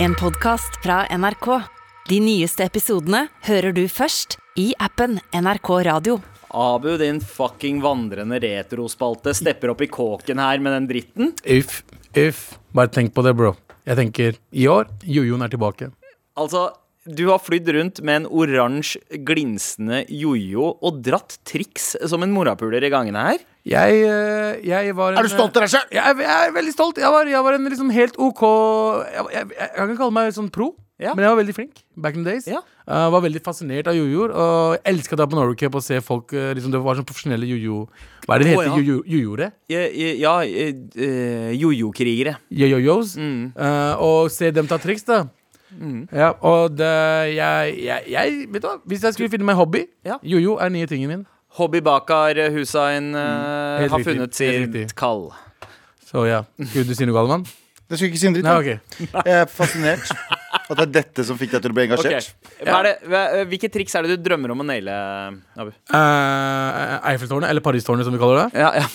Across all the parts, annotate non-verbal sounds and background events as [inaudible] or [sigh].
En podcast fra NRK. De nyeste episodene hører du først i appen NRK Radio. Abu, din fucking vandrende retrospalte, stepper opp i kåken her med den dritten. If, if. Bare tenk på det, bro. Jeg tenker i år, jojoen er tilbake. Altså, du har flydd rundt med en oransje, glinsende jojo og dratt triks som en morapuler i gangene her. Jeg, eh, jeg var en, Er du stolt av deg sjøl? Jeg er, jeg er veldig stolt. Jeg var, jeg var en liksom helt OK Jeg, jeg, jeg kan ikke kalle meg sånn pro, Ja. men jeg var veldig flink back in the days. Ja. Eh, var veldig fascinert av jojoer. Og jeg elska å dra på Norway Cup og se folk eh, liksom, Det var sånn profesjonelle jojo... Hva er det det Å, heter? ja. Jojo- Jojoere? Ja, ja eh, eh, jojo-krigere. yo-yo-yos Mm. eh, og se dem ta triks, da. Ja, og det jeg, jeg, jeg Vet du hva, hvis jeg skulle finne meg en hobby Ja. Jojo er nye tingen min. Hobby Bakar Hussein eh, Mm, Helt har riktig, funnet helt sitt riktig. kall. Så ja. Skulle du si noe, Galvan? Det skulle ikke si en dritt. Nei, da. ok. Jeg er fascinert. At det er dette som fikk deg til å bli Ok. engasjert. Hva er det, hva- eh, hvilke triks er det du drømmer om å naile, Abu? Eh, Eiffeltårnet, eller Paristårnet, som vi kaller det. Ja, ja.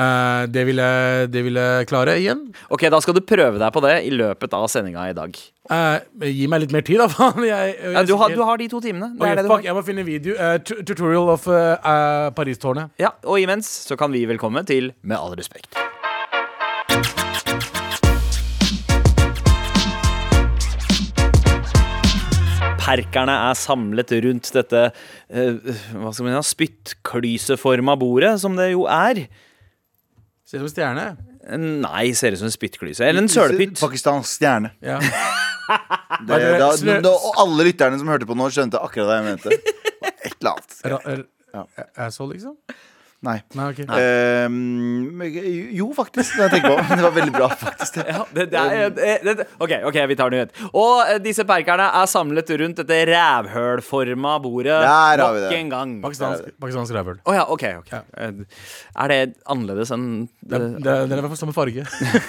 Eh, det, vil jeg, det vil jeg klare igjen. Ok, da skal du prøve deg på det i løpet av sendinga i dag. Eh, gi meg litt mer tid, da, [laughs] faen. Jeg, jeg, Ja, du, har, du har de to timene. Det Ok, er det du har. fuck, jeg må finne en video. Eh, tu- tutorial of eh, eh, Paristårnet. Ja, og imens så kan vi velkomme til Med all respekt. Perkerne er samlet rundt dette eh, hva skal man si, spyttklyseforma bordet, som det jo er. Ser ut som en stjerne. Nei, ser ut som en spyttklyse. Eller en sølepytt. Pakistans stjerne. Ja. Det, det- da, snø- da, og alle lytterne som hørte på nå, skjønte akkurat hva jeg mente. Det var Et eller annet. Ra er, Ja. Asshole, liksom? Nei. Nei, ok. Ehm, jo, faktisk. Det, jeg tenker på. det var veldig bra, faktisk. Det. Ja, det, det er, Um. det, det, ok, ok, vi tar den ut. Og eh, disse perkerne er samlet rundt dette rævhølforma bordet Der har vi nok det. en gang. Pakistansk, pakistansk rævhull. Å ja, ok. ok. Eh, Er det annerledes enn eh, Det, det, den er i hvert fall samme farge. Hvis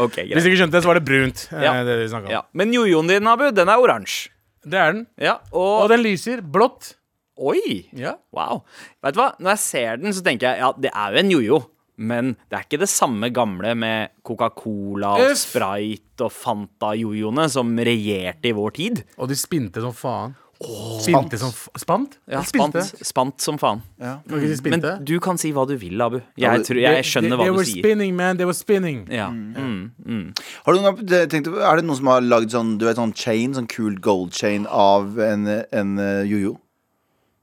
Ok, greit. du ikke skjønte det, så var det brunt. eh, Ja. Det, vi snakket om. Ja. Men jojoen din, Abu, den er oransje. det er den. Ja, Og og den lyser blått. Oi! Ja. Wow. Vet du hva? Når jeg ser den, så tenker jeg ja, det er jo en jojo. Men det er ikke det samme gamle med Coca-Cola og Uff. Sprite og Fanta-jojoene som regjerte i vår tid. Og de spinte som faen. spinte som f Spant? Ja, Eller spant, spinte? spant som faen. Ja. Kan ikke si Men spinte? du kan si hva du vil, Abu. Ja, Jeg, det- tror, jeg they, skjønner hva they du were sier. spinning, man. They were spinning. Ja. Mm. Har du noen, tenkt, er det noen som har lagd sånn, du vet, sånn chain, sånn cool gold chain av en, en eh, jojo?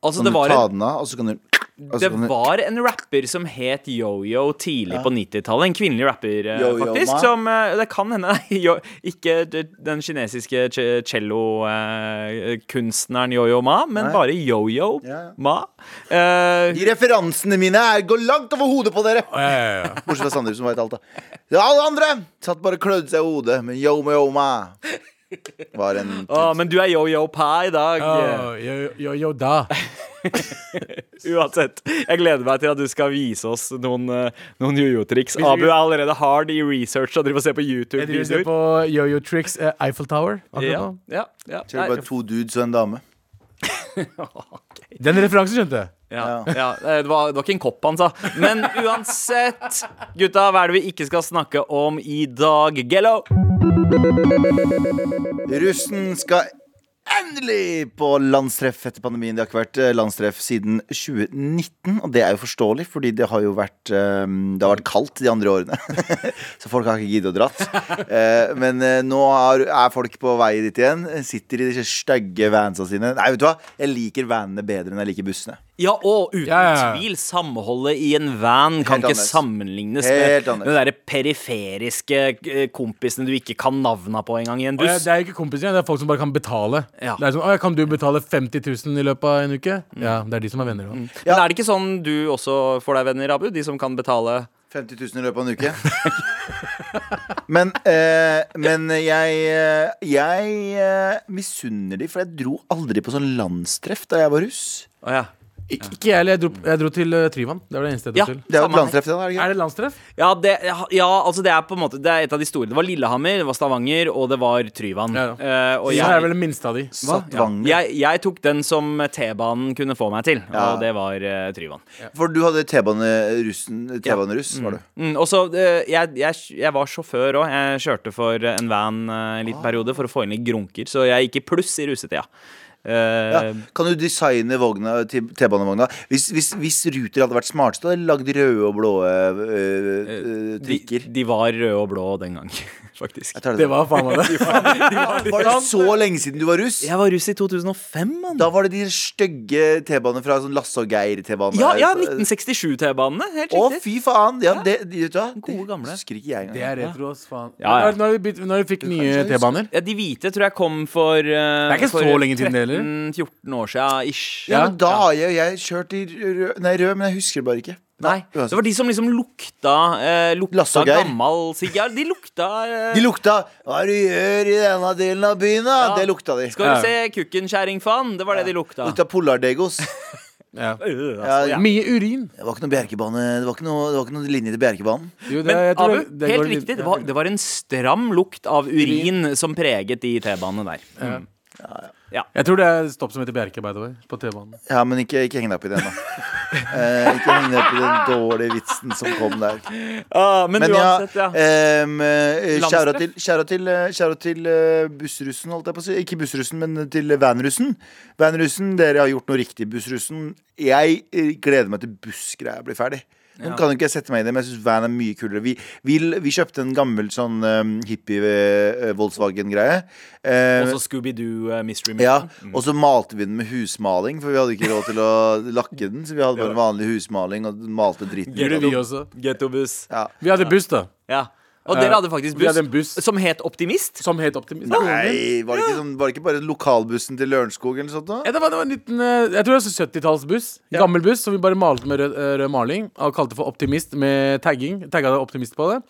Altså, Kan det du var ta en den av, og så kan du og så Det kan du- var en rapper som het Yo-Yo tidlig på 90-tallet. En kvinnelig rapper, eh, Yo-Yo faktisk. Ma? Som eh, Det kan hende [laughs] nei, yo, ikke d- den kinesiske ce- cello-kunstneren Yo-Yo Ma, men Nei. bare Yo-Yo Ja, ja. Ma. Eh, De referansene mine er, går langt over hodet på dere! Ja, ja, ja. Bortsett fra Sandeep, som veit alt, da. Ja, alle andre satt bare og klødde seg i hodet, men yo, ma, yo, ma. Var en å, men du er Yo-Yo Pa i dag. [laughs] eh, Oh, yo, yo, yo, da. Uansett. Jeg gleder meg til at du skal vise oss noen, eh, noen jojo-triks. jeg- Abu er allerede hard i research og driver og ser på Jeg driver og ser YouTube-videoer. på Yo-Yo Tricks eh, Eiffel Tower. akkurat Ja, nå. ja, ja. Det var Nei, bare to dudes og en dame. Den referansen skjønte jeg. Ja, ja. Eh, Det, var, det var ikke en kopp han sa. Men uansett, gutta, hva er det vi ikke skal snakke om i dag? Gello! Russen skal endelig på landstreff etter pandemien. Det har ikke vært eh, landstreff siden 2019, og det er jo forståelig, fordi det har jo vært eh, Det har vært kaldt de andre årene. [laughs] Så folk har ikke giddet å dratt. Eh, Men eh, nå er er folk på vei dit igjen. Sitter i de stygge vansa sine. Nei, vet du hva? Jeg liker vanene bedre enn jeg liker bussene. Ja, og uten Ja, ja, ja. tvil, samholdet i en van kan Helt ikke annerledes. sammenlignes Helt med annerledes. de derre periferiske eh, kompisene du ikke kan navna på engang i en Og jeg- buss. Eh, Det er jo ikke kompiser, det er folk som bare kan betale. Ja. Mm. Det er sånn, «Å, ja, Kan du betale 50 000 i løpet av en uke? Ja, det er de som er venner. da. Men er det ikke sånn du også får deg venner, Abu? De som kan betale 50 000 i løpet av en uke. [laughs] men eh, men jeg, eh, jeg eh, misunner de, for jeg dro aldri på sånn landstreff da jeg var russ. Å ja. Ik ikke jeg heller. Jeg, dro- jeg dro til eh, Tryvann. Det var det eneste jeg dro Ja. til. Det er jo Samme et landstreff, det. da, Er det ikke? Er det landstreff? Ja, det, ja, altså det er på en måte Det er et av de store. Det var Lillehammer, det var Stavanger, og det var Tryvann. Ja, Eh, og Og jeg er vel den minste av de. Hva? Sattvanger. Ja. Jeg, jeg tok den som T-banen kunne få meg til, Ja. og det var eh, Tryvann. For du hadde T-bane-russen T-bane-russ, var du? Mm, og så, eh, jeg, jeg, jeg var sjåfør òg. Jeg kjørte for eh, en van eh, en Ah. liten periode for å få inn litt grunker, så jeg gikk i pluss i rusetida. Eh, Ja. Kan du designe vogna til T-banevogna? Hvis, hvis, hvis Ruter hadde vært smarteste, hadde de lagd røde og blå øh, Eh, øh, de, trikker. de var røde og blå den gang, [laughs] faktisk. Jeg tar Det det. var faen meg det. [laughs] Var det så lenge siden du var russ? Jeg var russ i 2005, mann. Da var det de stygge T-banene fra sånn Lasse og Geir-T-bane. Ja, ja 1967-T-banene. Helt Å, riktig. fy faen! Ja, det, de, vet du hva? Gode gamle. Det husker ikke jeg Det engang. er retro, ass faen. Ja, ja. Når, vi, byt- når vi fikk nye T-baner. Ja, de hvite tror jeg kom for Det er ikke så lenge siden, det heller. 13-14 år siden ish. Ja, men da har jeg, jeg kjørt i rød Nei, rød, men jeg husker det bare ikke. Nei, uansett. Det var de som liksom lukta eh, Lasse Lukta og Geir. gammel sigg. Ja, de lukta eh, [laughs] De lukta 'Hva er det du gjør i denne delen av byen', da? Ja. Det lukta de. Skal Ja. du se kukken, kjerringfan? Det var det de lukta. Lukta Polardegos. Ja. Øh, Ja, altså, ja. Mye urin. Det var ikke noe bjerkebane Det var ikke noe, det var ikke noe linje til bjerkebanen. Jo, det- Men jeg tror Abu, det- det går helt litt- riktig, det var, det var en stram lukt av urin som preget de T-banene der. Ja. Mm. Jeg tror det er stopp som heter Bjerke, by the way. På T-banen. Ja, men ikke, ikke heng deg opp i den, [laughs] da. Eh, ikke heng deg opp i den dårlige vitsen som kom der. Ah, men, Men ja, uansett, ja. ehm, eh, Landstreff. skjæra til, skjæra til, eh, skjæra til eh, bussrussen, holdt jeg på å si. Ikke bussrussen, men til vanrussen. Vanrussen, dere har gjort noe riktig. Bussrussen Jeg eh, gleder meg til bussgreia blir ferdig. Nå kan jo ikke jeg sette meg i det, men jeg syns van er mye kulere. Vi, vi, vi kjøpte en gammel sånn eh, ehm, hippie-Volkswagen-greie. Også Scooby-Doo eh, Mystery Mission. Ja, og så malte vi den med husmaling, for vi hadde ikke råd til å lakke den. Så vi hadde bare vanlig husmaling og malte dritten. Gjorde ut av den. vi også. Gettobuss. Ja. Vi hadde buss, da. Ja. Og Eh, dere hadde faktisk vi buss, hadde en buss. som het Optimist. Som het Optimist. Nei, var det, ikke sånn, var det ikke bare lokalbussen til Lørenskog eller noe sånt? da? Ja, det var, det var en liten, eh, jeg tror det var 70-tallsbuss. Gammel buss som vi bare malte med rød, eh, rød maling. Og kalte for Optimist med tagging. Tagga det Optimist på det.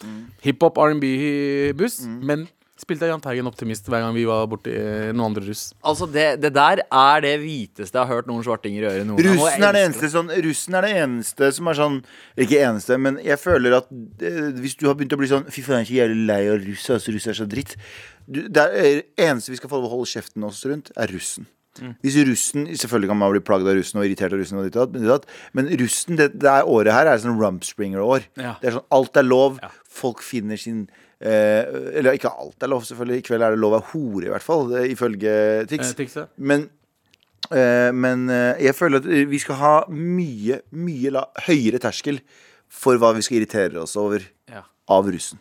Hiphop, R&B-buss. Men spilte Jahn Teigen Optimist hver gang vi var borti eh, noen andre russ. Altså, det, det der er det hviteste jeg har hørt noen svartinger gjøre noen gang, og jeg Russen er, elsker det eneste, sånn, russen er det eneste som er sånn Ikke eneste, men jeg føler at eh, hvis du har begynt å bli sånn Fy faen, jeg er så jævlig lei av russ, altså, russ er så dritt. Du, det er, eh, eneste vi skal få holde kjeften oss rundt, er russen. Mm. Hvis russen, Selvfølgelig kan man bli plaget av russen og irritert av russen, og ditt og datt, men ditt og datt, men russen det, det er året her er sånn rumpspringer-år. Ja. Det er sånn alt er lov. Folk finner sin eh, Eller ikke alt er lov, selvfølgelig. I kveld er det lov å være hore, i hvert fall, det- ifølge Tix. Eh, Tixet. Men, eh, men eh, jeg føler at eh, vi skal ha mye, mye la, høyere terskel for hva vi skal irritere oss over Ja. av russen.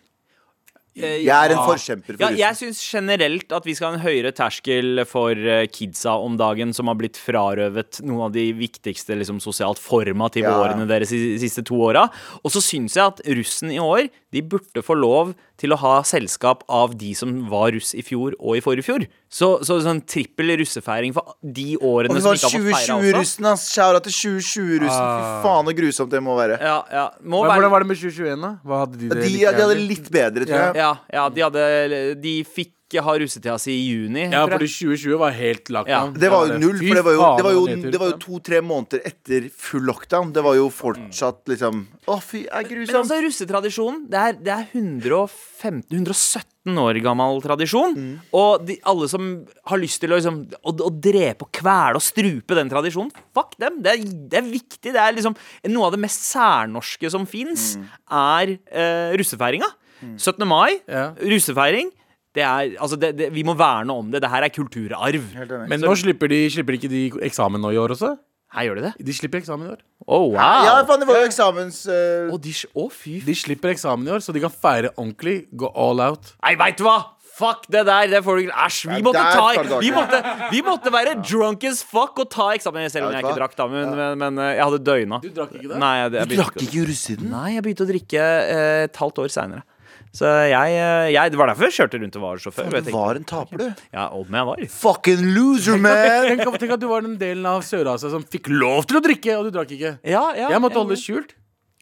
Eh, Jeg er en forkjemper for ja, russen. Jeg syns generelt at vi skal ha en høyere terskel for eh, kidsa om dagen som har blitt frarøvet noen av de viktigste liksom, sosialt formative Ja, ja. årene deres de siste to åra. Og så syns jeg at russen i år de burde få lov til å ha selskap av de som var russ i fjor og i forrige fjor. Så, så sånn trippel russefeiring for de Og årene det som var ikke har fått altså. feira også. Ah. 2020-russen, ass! Shout-out til 2020-russen. Fy faen, så grusomt det må være. Ja, ja. Må Men være hvordan var det med 2021, da? Hva hadde de det De, like ja, de hadde jævlig? litt bedre, tror Ja. jeg. Ja, ja de, hadde, de fikk ha russetida si i juni. Ja, tror jeg. fordi 2020 var helt lagt Ja. down. Det var jo null, Fy for det var jo, faen, det var jo, det var det var jo nedtur. to-tre måneder etter full lockdown. Det var jo fortsatt liksom Å, fy, det er Men grusomt. altså, russetradisjonen, det er, det er 115, 117 år gammel tradisjon. Mm. Og de, alle som har lyst til å, liksom, å, å drepe og kvele og strupe den tradisjonen, fuck dem. Det er, det er viktig. Det er liksom noe av det mest særnorske som fins, Mm. er eh, russefeiringa. 17. mai, Ja. russefeiring. Det er, altså det, det, vi må verne om det. Det her er kulturarv. Helt enig. Men nå slipper de, slipper ikke de eksamen nå i år også? Her gjør de det. De slipper eksamen i år. Å, wow! Ja, faen, det var jo eksamens... eh, Å, de, å, fy De slipper eksamen i år, så de kan feire ordentlig. Gå all out. Nei, veit du hva? Fuck det der! det får du ikke Æsj! Vi Nei, måtte, der tar ta, du tak vi, i. måtte, vi måtte være drunk as fuck og ta eksamen. Selv om Ja, jeg ikke vet du hva? drakk, da. Men, men, men eh, jeg hadde døgna. Du drakk ikke det? Nei, jeg, jeg Du begynte drakk ikke russiden? Nei, jeg begynte å drikke eh, et halvt år seinere. Så jeg, eh, jeg Det var derfor jeg kjørte rundt og var sjåfør. Vet Du ikke. var en taper, du. Ja, om jeg var. Fucking loser, man! Tenk, tenk at du var den delen av Sør-Asia som fikk lov til å drikke, og du drakk ikke. Ja, ja, Jeg måtte holde det skjult.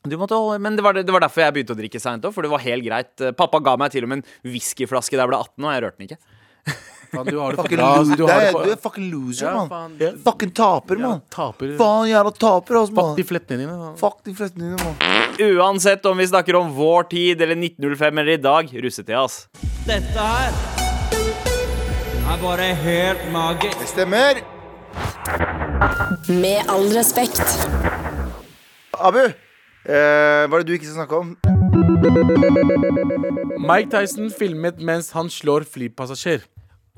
Du måtte holde, men det var, det var derfor jeg begynte å drikke seint òg, for det var helt greit. Pappa ga meg til og med en whiskyflaske da jeg ble 18, og jeg rørte den ikke. Faen, du har det for Fucking bra. ass. loser. Du har det Du for er fucking loser, Ja, mann. faen. Ja. Fucking taper, Ja, mann. Taper. Faen jævla taper, ass, Fuck mann. de flettene dine. faen. Fuck de fleste dine, mann. Uansett om vi snakker om vår tid eller 1905 eller i dag, russetida, ass. Dette her er bare helt magisk. Det stemmer. Med all respekt. Abu, eh, hva er det du ikke skal snakke om? Mike Tyson filmet mens han slår flypassasjer.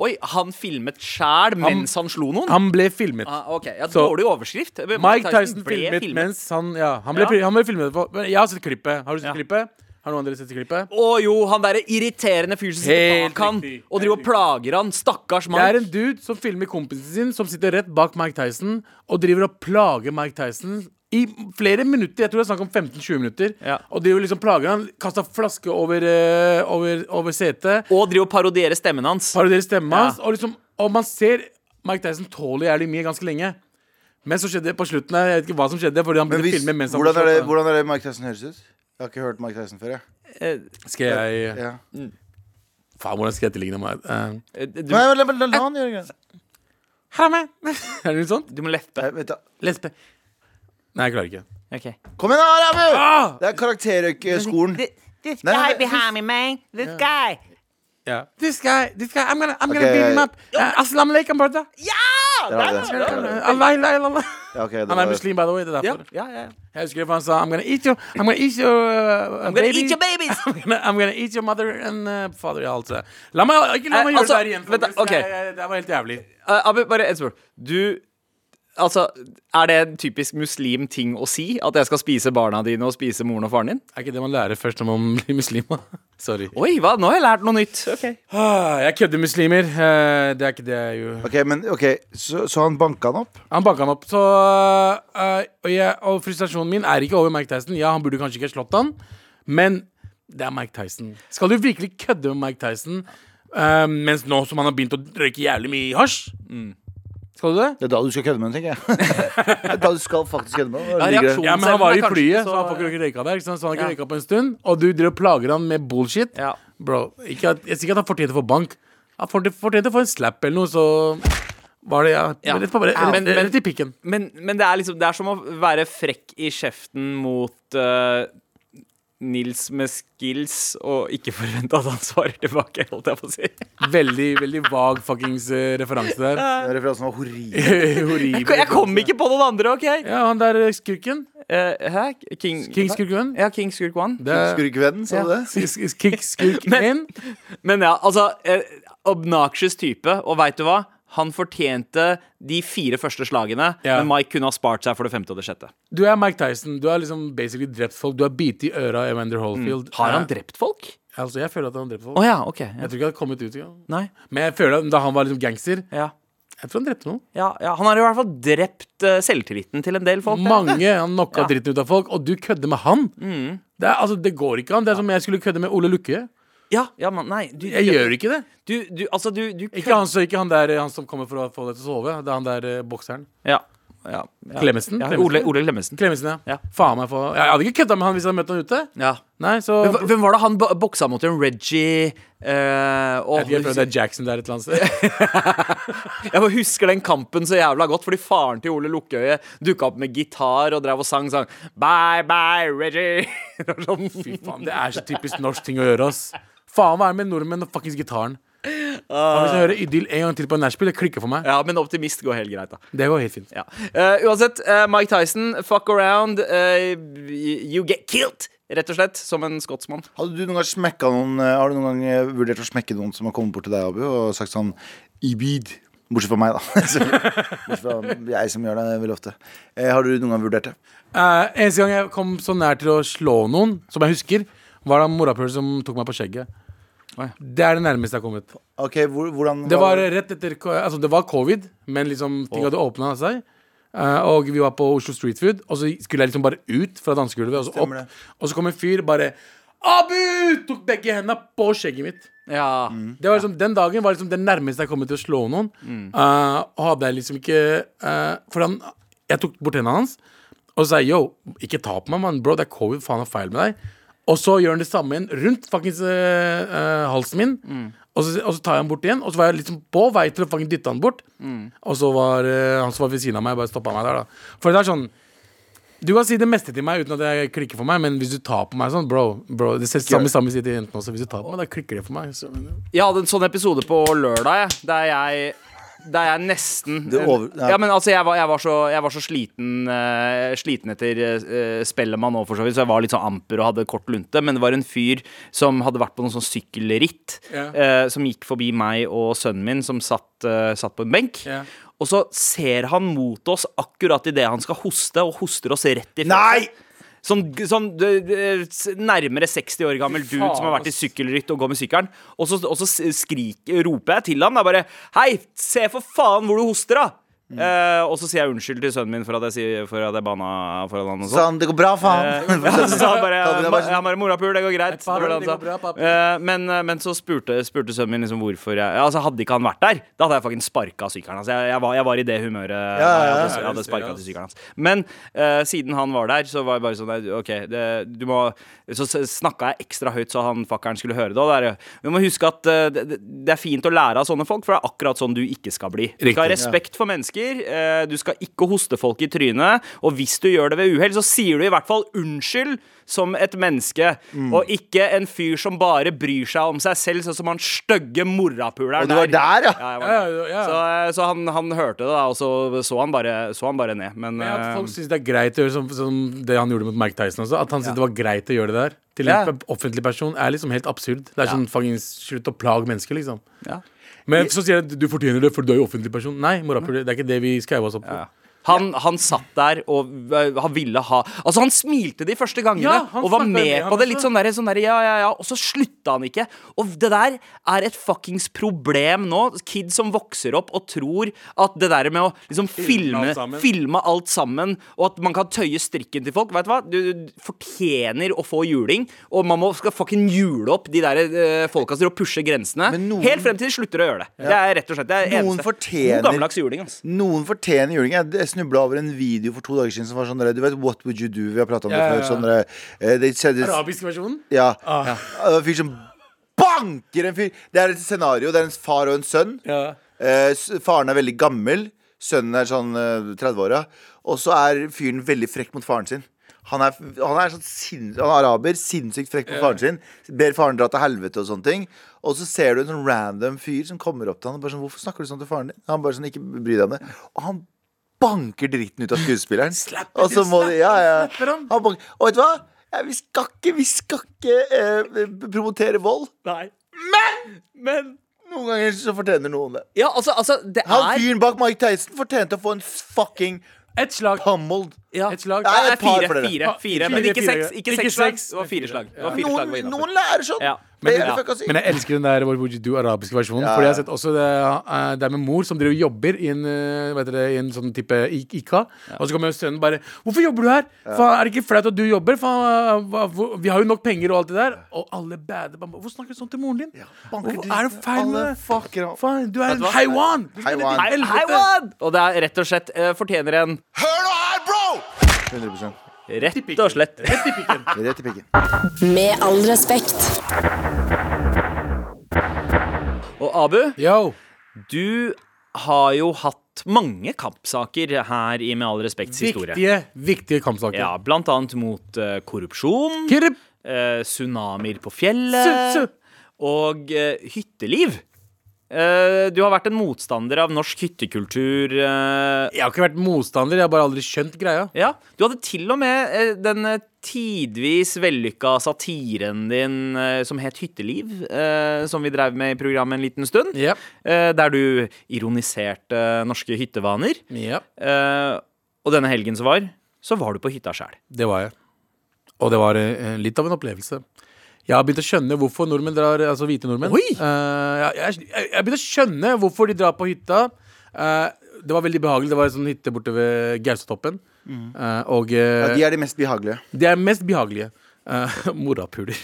Oi, han filmet sjæl mens han slo noen? Han ble filmet. ah, ok, ja, Så- Dårlig overskrift. Mike, Mike Tyson ble filmet mens han Ja, han ble, Ja. han ble filmet for men Jeg har sett klippet. Har du Ja. sett klippet? Har noen andre sett klippet? Å jo, han derre irriterende fyren som sitter Helt bak han riktig. og driver og plager han. Stakkars Det er mann. en dude som filmer kompisen sin, som sitter rett bak Mike Tyson, og driver og plager Mike Tyson i flere minutter. Jeg tror det er snakk om 15-20 minutter. Ja. Og driver liksom plager han. Kasta flaske over, eh, over, over setet. Og driver og parodierer stemmen hans. parodierer stemmen Ja. hans. Og, liksom, og man ser Mike Tyson tåler jævlig mye ganske lenge. Men så skjedde det på slutten her, jeg vet ikke hva som skjedde. Fordi han Men begynte å hvis, filme mens han sånn. hvordan, er ble det, slått. hvordan er det Mike Tyson høres ut? Jeg har ikke hørt Mike Tyson før. Jeg. Eh, Skal jeg Ja. Faen, hvordan skal jeg etterligne meg? Eh, Eh, Du, Nei, men la, la, la han gjøre greia. Her er meg! er det noe sånt? du må lette. Nei, vent da. Lesbe. Nei, jeg klarer ikke. Ok. Kom igjen, da, Abu! Ah! Det er karakterrøykeskolen. This Nei, nei, behind me, man. This guy. Ja. This guy, this guy, I'm gonna, I'm Ok, gonna beat him jeg- up. Uh, Aslam alaikum, brother. Der har vi det. Der har vi det. Allah, Allah, Allah. Ja, ok, det Han er var- muslim, by the way. Det er Ja, derfor. ja, ja. Jeg husker det, for han sa I'm gonna eat your, I'm gonna eat your uh, I'm gonna baby. eat your babies! [laughs] I'm gonna- I'm gonna eat your mother and uh, father. Ja, altså. La meg, ikke la Eh, meg gjøre altså, det her igjen. vent da, folkens. ok. Det er- det var helt jævlig. Eh, Abu, bare et spørsmål. Du Altså, er det en typisk muslim ting å si? At jeg skal spise barna dine og spise moren og faren din? Er ikke det man lærer først når man [laughs] blir muslim? da? Sorry. Oi, hva? Nå har jeg lært noe nytt. Ah, Jeg kødder muslimer. Eh, Det er ikke det jeg gjør. Ok, men ok, så, så han banka han opp? Han banka han opp. Så, eh, og, jeg, og frustrasjonen min er ikke over Mike Tyson. Ja, han burde kanskje ikke slått han, men det er Mike Tyson. Skal du virkelig kødde med Mike Tyson eh, mens nå som han har begynt å røyke jævlig mye hasj? Skal du det? Det er da du skal kødde med den, tenker [laughs] jeg. Det er da du skal faktisk kødde med den. Ja, Ligger det- reaksjon. Ja, men han Selv om var i det kanskje flyet, ikke så, så- han får ikke røyka der. Ikke sant? Så han har ikke Ja. røyka på en stund. Og du driver og plager han med bullshit. Ja. Bro, ikke at, jeg sier ikke at han fortjente å få bank. Han fortjente- fortjente å få en slap eller noe, så var det ja. Ja. Rett, på, rett, Ja, men- rett, rett i pikken. Men, men det, er liksom, det er som å være frekk i kjeften mot eh, Nils med skills og ikke forvente at han svarer tilbake, holdt jeg på å si. Veldig veldig vag fuckings eh, referanse der. Den referansen var horribel. [laughs] Horribel. Jeg kom ikke på noen andre, OK? Ja, han der eh, skurken. Eh, hæ? King, King Skurken. Ja, King Skurk One. Det er Skurkevennen, sa [laughs] du det? Kick Skurken min. Men ja, altså eh, Obnoxious type, og veit du hva? Han fortjente de fire første slagene, Ja. men Mike kunne ha spart seg for det femte og det sjette. Du er Mike Tyson. Du har liksom basically drept folk. Du har bitt i øra av Evander Holfield. Mm. Har han Eh, drept folk? Altså, jeg føler at han har drept Å folk. ja, OK. Ja. Jeg tror ikke det hadde kommet ut engang. Nei. Men jeg føler at da han var liksom gangster Ja. Jeg tror han drepte noen. Ja, ja. Han har i hvert fall drept eh, selvtilliten til en del folk. der. Mange. [laughs] Han knocka Ja. Mm. dritten ut av folk, og du kødder med han. Det, er, altså, det går ikke an. Det er som om jeg skulle kødde med Ole Lukke. Ja, ja, men nei du, Jeg gjør ikke det. Du, du, altså, du, du Ikke han, så, ikke han der eh, han som kommer for å få deg til å sove. Det er han der eh, bokseren. Ja. ja, ja. Mm. Clemetsen. Ja, Clemetsen. Ole, Ole Clemetsen. Clemetsen, ja. Ja. Faen meg for Jeg hadde ikke kødda med han hvis jeg hadde møtt han ute. Ja. Nei, så Hvem, hvem var det han bo- boksa mot? En Reggie eh, og, jeg vet ikke, jeg føler det er Jackson der et eller annet [laughs] sted. Jeg bare husker den kampen så jævla godt, fordi faren til Ole Lukkøye dukka opp med gitar og drev og sang sang Bye bye, Reggie. [laughs] Det var sånn. Fy faen, Det er så typisk norsk ting å gjøre, ass. Faen, hva er det med nordmenn og fuckings gitaren? Faen, hvis jeg hører Idyll en gang til på nachspiel, det klikker for meg. Ja, men optimist går helt greit, da. Det går helt fint. Ja. Eh, uansett, eh, Mike Tyson, fuck around. eh, you get killed, rett og slett, som en skotsmann. Hadde du noen gang smekka noen eh, Har du noen gang eh, vurdert å smekke noen som har kommet bort til deg, Abu, og sagt sånn Ibid? Bortsett fra meg, da. [laughs] Bortsett fra jeg som gjør det veldig ofte. Eh, har du noen gang vurdert det? Eh, eneste gang jeg kom så nær til å slå noen, som jeg husker, var da morapuler som tok meg på skjegget. Oi. Det er det nærmeste jeg har kommet. Ok, hvor, hvordan Det var rett etter ko- Altså, det var covid, men liksom ting hadde åpna seg. Eh, og vi var på Oslo Street Food, og så skulle jeg liksom bare ut fra dansegulvet. Og så Stemmer det. opp, og så kom en fyr bare Abu! Tok begge hendene på skjegget mitt. Ja. Det var liksom, Den dagen var liksom den nærmeste jeg kom til å slå noen. Eh, og hadde jeg liksom ikke eh, For han, jeg tok bort hendene hans og sa yo, ikke ta på meg, mann. Bro, det er covid. Faen, hva er feil med deg? Og så gjør han det samme igjen rundt fuckings eh, eh, halsen min. Og så, og så tar jeg han bort igjen, og så var jeg liksom på vei til å fange dytte han bort. Og så var eh, han som var ved siden av meg, bare stoppa meg der, da. For det er sånn Du kan si det meste til meg uten at jeg klikker for meg, men hvis du tar på meg sånn, bro, bro Det ser samme samme sier til jentene også. Hvis du tar på meg, da klikker det for meg. Så, Jeg hadde en sånn episode på lørdag, jeg, der jeg der jeg nesten Du over- ja. ja. men altså jeg var, jeg var, så, jeg var så sliten eh, Sliten etter eh, Spellemann nå, for så vidt. Så jeg var litt sånn amper og hadde kort lunte. Men det var en fyr som hadde vært på noen sånn sykkelritt. Ja. eh, som gikk forbi meg og sønnen min, som satt, eh, satt på en benk. Ja. Og så ser han mot oss akkurat idet han skal hoste, og hoster oss rett i fjeset. Nei! Sånn, sånn du, du, s- nærmere 60 år gammel dude faen, som har vært i ass. sykkelritt og går med sykkelen. Og så, og så s- skrik, roper jeg til han. Det er bare Hei, se for faen hvor du hoster, da! Mm. Eh, og så sier jeg unnskyld til sønnen min for at jeg, sier, for at jeg banna foran han. eh, og sånn Sånn, det går bra, faen. [laughs] ja, så sa han bare Ta det der, Jeg bare sånn. har bare morapul, det går greit. Nei, pappa, Det var det det han går bra, sa. pappa. Eh, Men, eh, men så spurte, spurte sønnen min liksom hvorfor jeg ja, Altså Hadde ikke han vært der, da hadde jeg fucking sparka sykkelen hans. Jeg, jeg, var, jeg var i det humøret. ja, Jeg ja. hadde, jeg hadde sparka til sykkelen hans. Men eh, siden han var der, så var jeg bare sånn nei, OK, det, du må Så snakka jeg ekstra høyt så han fuckeren skulle høre det. Og det er, vi må huske at eh, det, det er fint å lære av sånne folk, for det er akkurat sånn du ikke skal bli. Du skal ha respekt for mennesker. eh, Du skal ikke hoste folk i trynet. Og hvis du gjør det ved uhell, så sier du i hvert fall unnskyld som et menneske. Mm. Og ikke en fyr som bare bryr seg om seg selv, sånn som han stygge morapuleren Og du var der, ja. Ja, jeg var ja, der. ja, ja. Så, eh, så han, han hørte det, da, og så så han bare, så han bare ned. Men, Men at eh, folk syns det er greit å gjøre som, som det han gjorde mot Mike Tyson også. At han syntes det var greit å gjøre det der. Til en Ja. pe- offentlig person er liksom helt absurd. Det er sånn fucking slutt å plage mennesker, liksom. Ja. Men så sier jeg du fortjener det, for du er jo offentlig person. Nei, morapuler, det er ikke det vi skrev oss opp på. Han, han satt der og øh, han ville ha Altså, han smilte de første gangene Ja, han og var snakket med med han på det. Litt også. sånn der, sånn der, ja, ja, ja. Og så slutta han ikke. Og det der er et fuckings problem nå. Kids som vokser opp og tror at det der med å liksom filme alt sammen. filme alt sammen, og at man kan tøye strikken til folk. Vet du hva? Du du fortjener å få juling, og man må skal fucking jule opp de der eh, folka som driver og pusher grensene. Men noen- Helt frem til de slutter å gjøre det. Det er rett og slett det er Noen eneste. fortjener- God gammeldags juling, ass. [laughs] Noen fortjener juling. Jeg- Jeg snubla over en video for to dager siden som var sånn der, Du vet What Would You Do? Vi har prata om det Ja, ja, før. ja. Sånn der, eh, they said this- Arabisk versjonen? Ja. Ah. ja. Og En fyr som banker en fyr. Det er et scenario. Det er en far og en sønn. Ja. Eh, s- faren er veldig gammel. Sønnen er sånn eh, 30-åra. Og så er fyren veldig frekk mot faren sin. Han er, han er, sånn sinns- han er araber, sinnssykt frekk mot faren sin. Ber faren dra til helvete og sånne ting. Og så ser du en sånn random fyr som kommer opp til han og bare sånn 'Hvorfor snakker du sånn til faren din?' Han bare sånn, ikke bry deg om det. Og han banker dritten ut av skuespilleren. Slapper og så du, må de, ja, ja. slapper han. Han banker. Og vet du hva? Ja, vi skal ikke, vi skal ikke eh, promotere vold. Nei. Men noen ganger så fortjener noen det. Ja, altså, altså det Han er fyren bak Mike Tyson fortjente å få en fucking Et slag. pummeled. ja. Et slag. Nei, Nei, det er et par fire, for dere. fire, fire, Fire, men ikke fire, seks, ja. ikke Ikke seks slag. seks, Det var men fire fire. slag. Det var fire slag Noen, var innenfor. noen lærer sånn. Ja. Det Men- er ja. helt fucka sykt. Men jeg elsker den der What would you do arabiske versjonen. Ja, Fordi jeg har ja. sett også det, eh, det er med mor som driver og jobber i en, eh, vet dere, i en sånn type I- IKA. Og så kommer sønnen bare 'Hvorfor jobber du her? Faen, er det ikke flaut at du jobber? Faen, hva, hvor, vi har jo nok penger og alt det der.' Og alle bader bare 'Hvorfor snakker du sånn til moren din? banker Hvorfor dritten er det feil med alle fucker det? opp.» Faen, du er en hva? haiwan! Du skal ned Haiwan. til Hei, helvete. hei, Wad! Og det er rett og slett eh, fortjener en Hør nå her, bro! 100 Rett og slett. Rett i pikken. Med all respekt. Og Abu, Yo. du har jo hatt mange kampsaker her i Med all respekts historie. Viktige, viktige kampsaker. Ja, blant annet mot eh, korrupsjon, Kirp. eh, tsunamier på Su- fjellet su. og eh, hytteliv. Eh, du har vært en motstander av norsk hyttekultur. eh, Jeg har ikke vært motstander, jeg har bare aldri skjønt greia. Ja, Du hadde til og med eh, den eh, tidvis vellykka satiren din eh, som het Hytteliv, eh, som vi drev med i programmet en liten stund. Yep. Eh, der du ironiserte eh, norske hyttevaner. Yep. Eh, og denne helgen som var, så var du på hytta sjæl. Det var jeg. Og det var eh, litt av en opplevelse. Jeg har begynt å skjønne hvorfor nordmenn drar Altså hvite nordmenn. Oi! Eh, jeg- jeg, jeg, jeg har begynt å skjønne hvorfor de drar på hytta. Eh, det var veldig behagelig. Det var en sånn hytte borte ved Gaustatoppen. Eh, og eh, Ja, de, de er de mest behagelige. er... mest behagelige. Eh, [laughs] morapuler.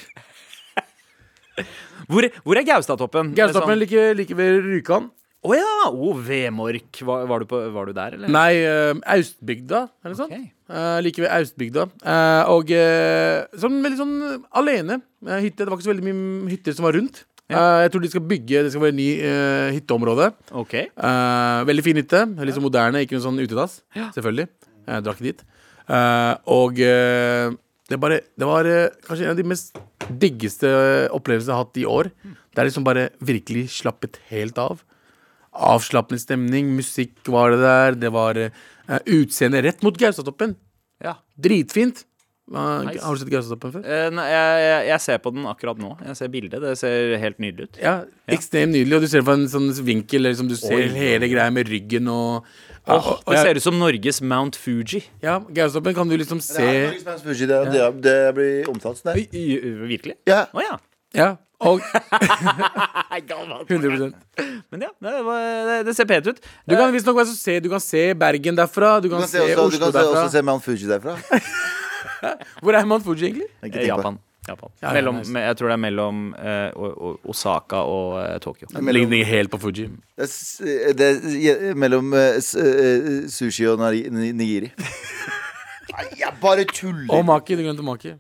Hvor, hvor er Gaustatoppen? Gaustatoppen Sånn- like, like ved Rjukan. Å ja! Å, Vemork. Var, var, du på, var du der, eller? Nei, eh, Austbygda, er det sånn? Ok. Eh, like ved Austbygda. Eh, og eh, sånn veldig sånn eh, alene eh, hytte. Det var ikke så veldig mye mm, hytter som var rundt. Eh, jeg tror de skal bygge Det skal være en ny eh, hytteområde. Ok Eh, veldig fin hytte. Litt så moderne, ikke noe sånn utedass. Selvfølgelig. Jeg drar ikke dit. Eh, og eh, det, er bare, det var eh, kanskje en av de mest diggeste opplevelsene jeg har hatt i år. Mm. Der liksom bare virkelig slappet helt av. Avslappende stemning, musikk var det der. Det var eh, utseende rett mot Gaustatoppen. Ja. Dritfint. Eh, Nice. Har du sett Gaustatoppen før? Eh, nei, jeg, jeg, jeg ser på den akkurat nå. Jeg ser bildet. Det ser helt nydelig ut. Ja, Ekstremt nydelig. Og du ser det fra en sånn vinkel. eller Liksom, du ser hele greia med ryggen og Åh, og- og det jeg- ser ut som Norges Mount Fuji. Ja, Gaustoppen kan du liksom se Det, det, det blir omtalt sånn der. virkelig? Ja. Å ja. Ja, og Nei, gammelt. 100 Men ja, det, var- det, det ser pent ut. Du kan visstnok også se Du kan se Bergen derfra, du kan, Du kan se, se også, du Oslo kan se, derfra. også se Mount Fuji derfra. Jeg Hvor er Mount Fuji, egentlig? har Eh, ikke tenkt på det. Japan. Japan. Ja, ja, mellom, nice. me- Jeg tror det er mellom eh, og- og- Osaka og eh, Tokyo. mellom- Ligner ikke helt på Fuji. Det er s- Det er je- mellom eh, s- eh, sushi og nari- ni- nigiri. Nei, jeg bare tuller. Og Maki. Du glemte Maki.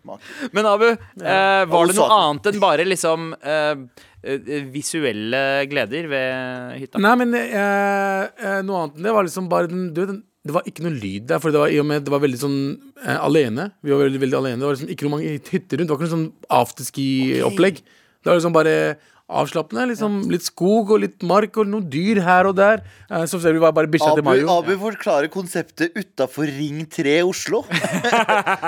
Men Abu, eh, var det noe Osaka. annet enn bare liksom eh, eh, visuelle gleder ved Mm, hytta? Nei, men eh, eh, noe annet enn det var liksom bare den, du, vet den det var ikke noe lyd der, for det var, i og med, det var veldig sånn eh, alene. Vi var veldig, veldig alene. Det var liksom ikke noe mange hytter rundt. Det var ikke noe sånn afterski-opplegg. Det var liksom bare avslappende. Liksom, Litt skog og litt mark og noen dyr her og der. Eh, som selvfølgelig var bare bikkja Abu, til Mayo. Abu forklarer konseptet utafor Ring 3 Oslo.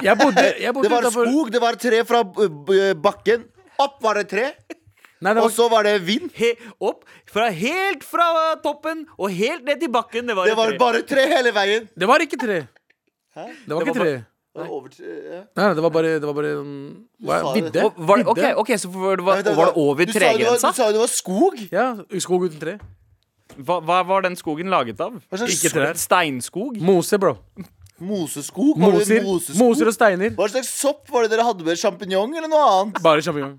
Jeg bodde, jeg bodde Det var utenfor- skog, det var tre fra eh, bakken. Opp var det tre, Nei, det var, og så var det vind. He, opp fra helt fra toppen og helt ned til bakken. Det var, Det et var tre. bare tre hele veien. det var ikke tre. Det var Det ikke var tre. Over tre, ja. Nei, det var bare, det var bare sånn- hva, sa det. vidde. Og var det, Vidde. ok, ok, så var det, var, Nei, var det over du sa det var- tregrensa? Du sa det var skog. Ja, skog uten tre. Hva, hva var den skogen laget av? Hva slags Ikke trær. Steinskog? Mose, bro. Moseskog? Var det Moser, en moseskog? moser og steiner. Hva slags sopp var det dere hadde med? Sjampinjong eller noe annet? Bare sjampinjong.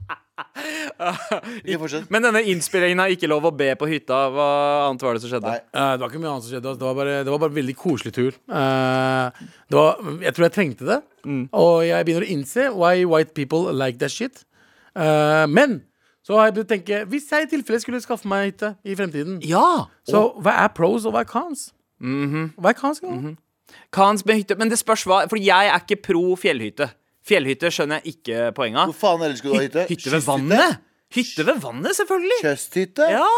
Ikke fortsett. Men denne innspillingen er ikke lov å be på hytta. Hva annet var det som skjedde? Nei. Eh, det var ikke mye annet som skjedde. ass. Det var bare, det var bare en veldig koselig tur. Eh, det var, jeg tror jeg trengte det. Mm. Og jeg begynner å innse why white people like that shit. Eh, men så har jeg begynt å tenke hvis jeg i tilfelle skulle skaffe meg hytte i fremtiden, Ja! så hva er pros og hva er cons? Mhm. Hva er cons? Mm Kans med hytte. Men det spørs hva, for jeg er ikke pro fjellhytte. Fjellhytte skjønner jeg ikke poenget Hvor av. faen ellers skulle du ha hytte? Hytte ved vannet? Hytte ved vannet, selvfølgelig! Kjøsthytte? Ja!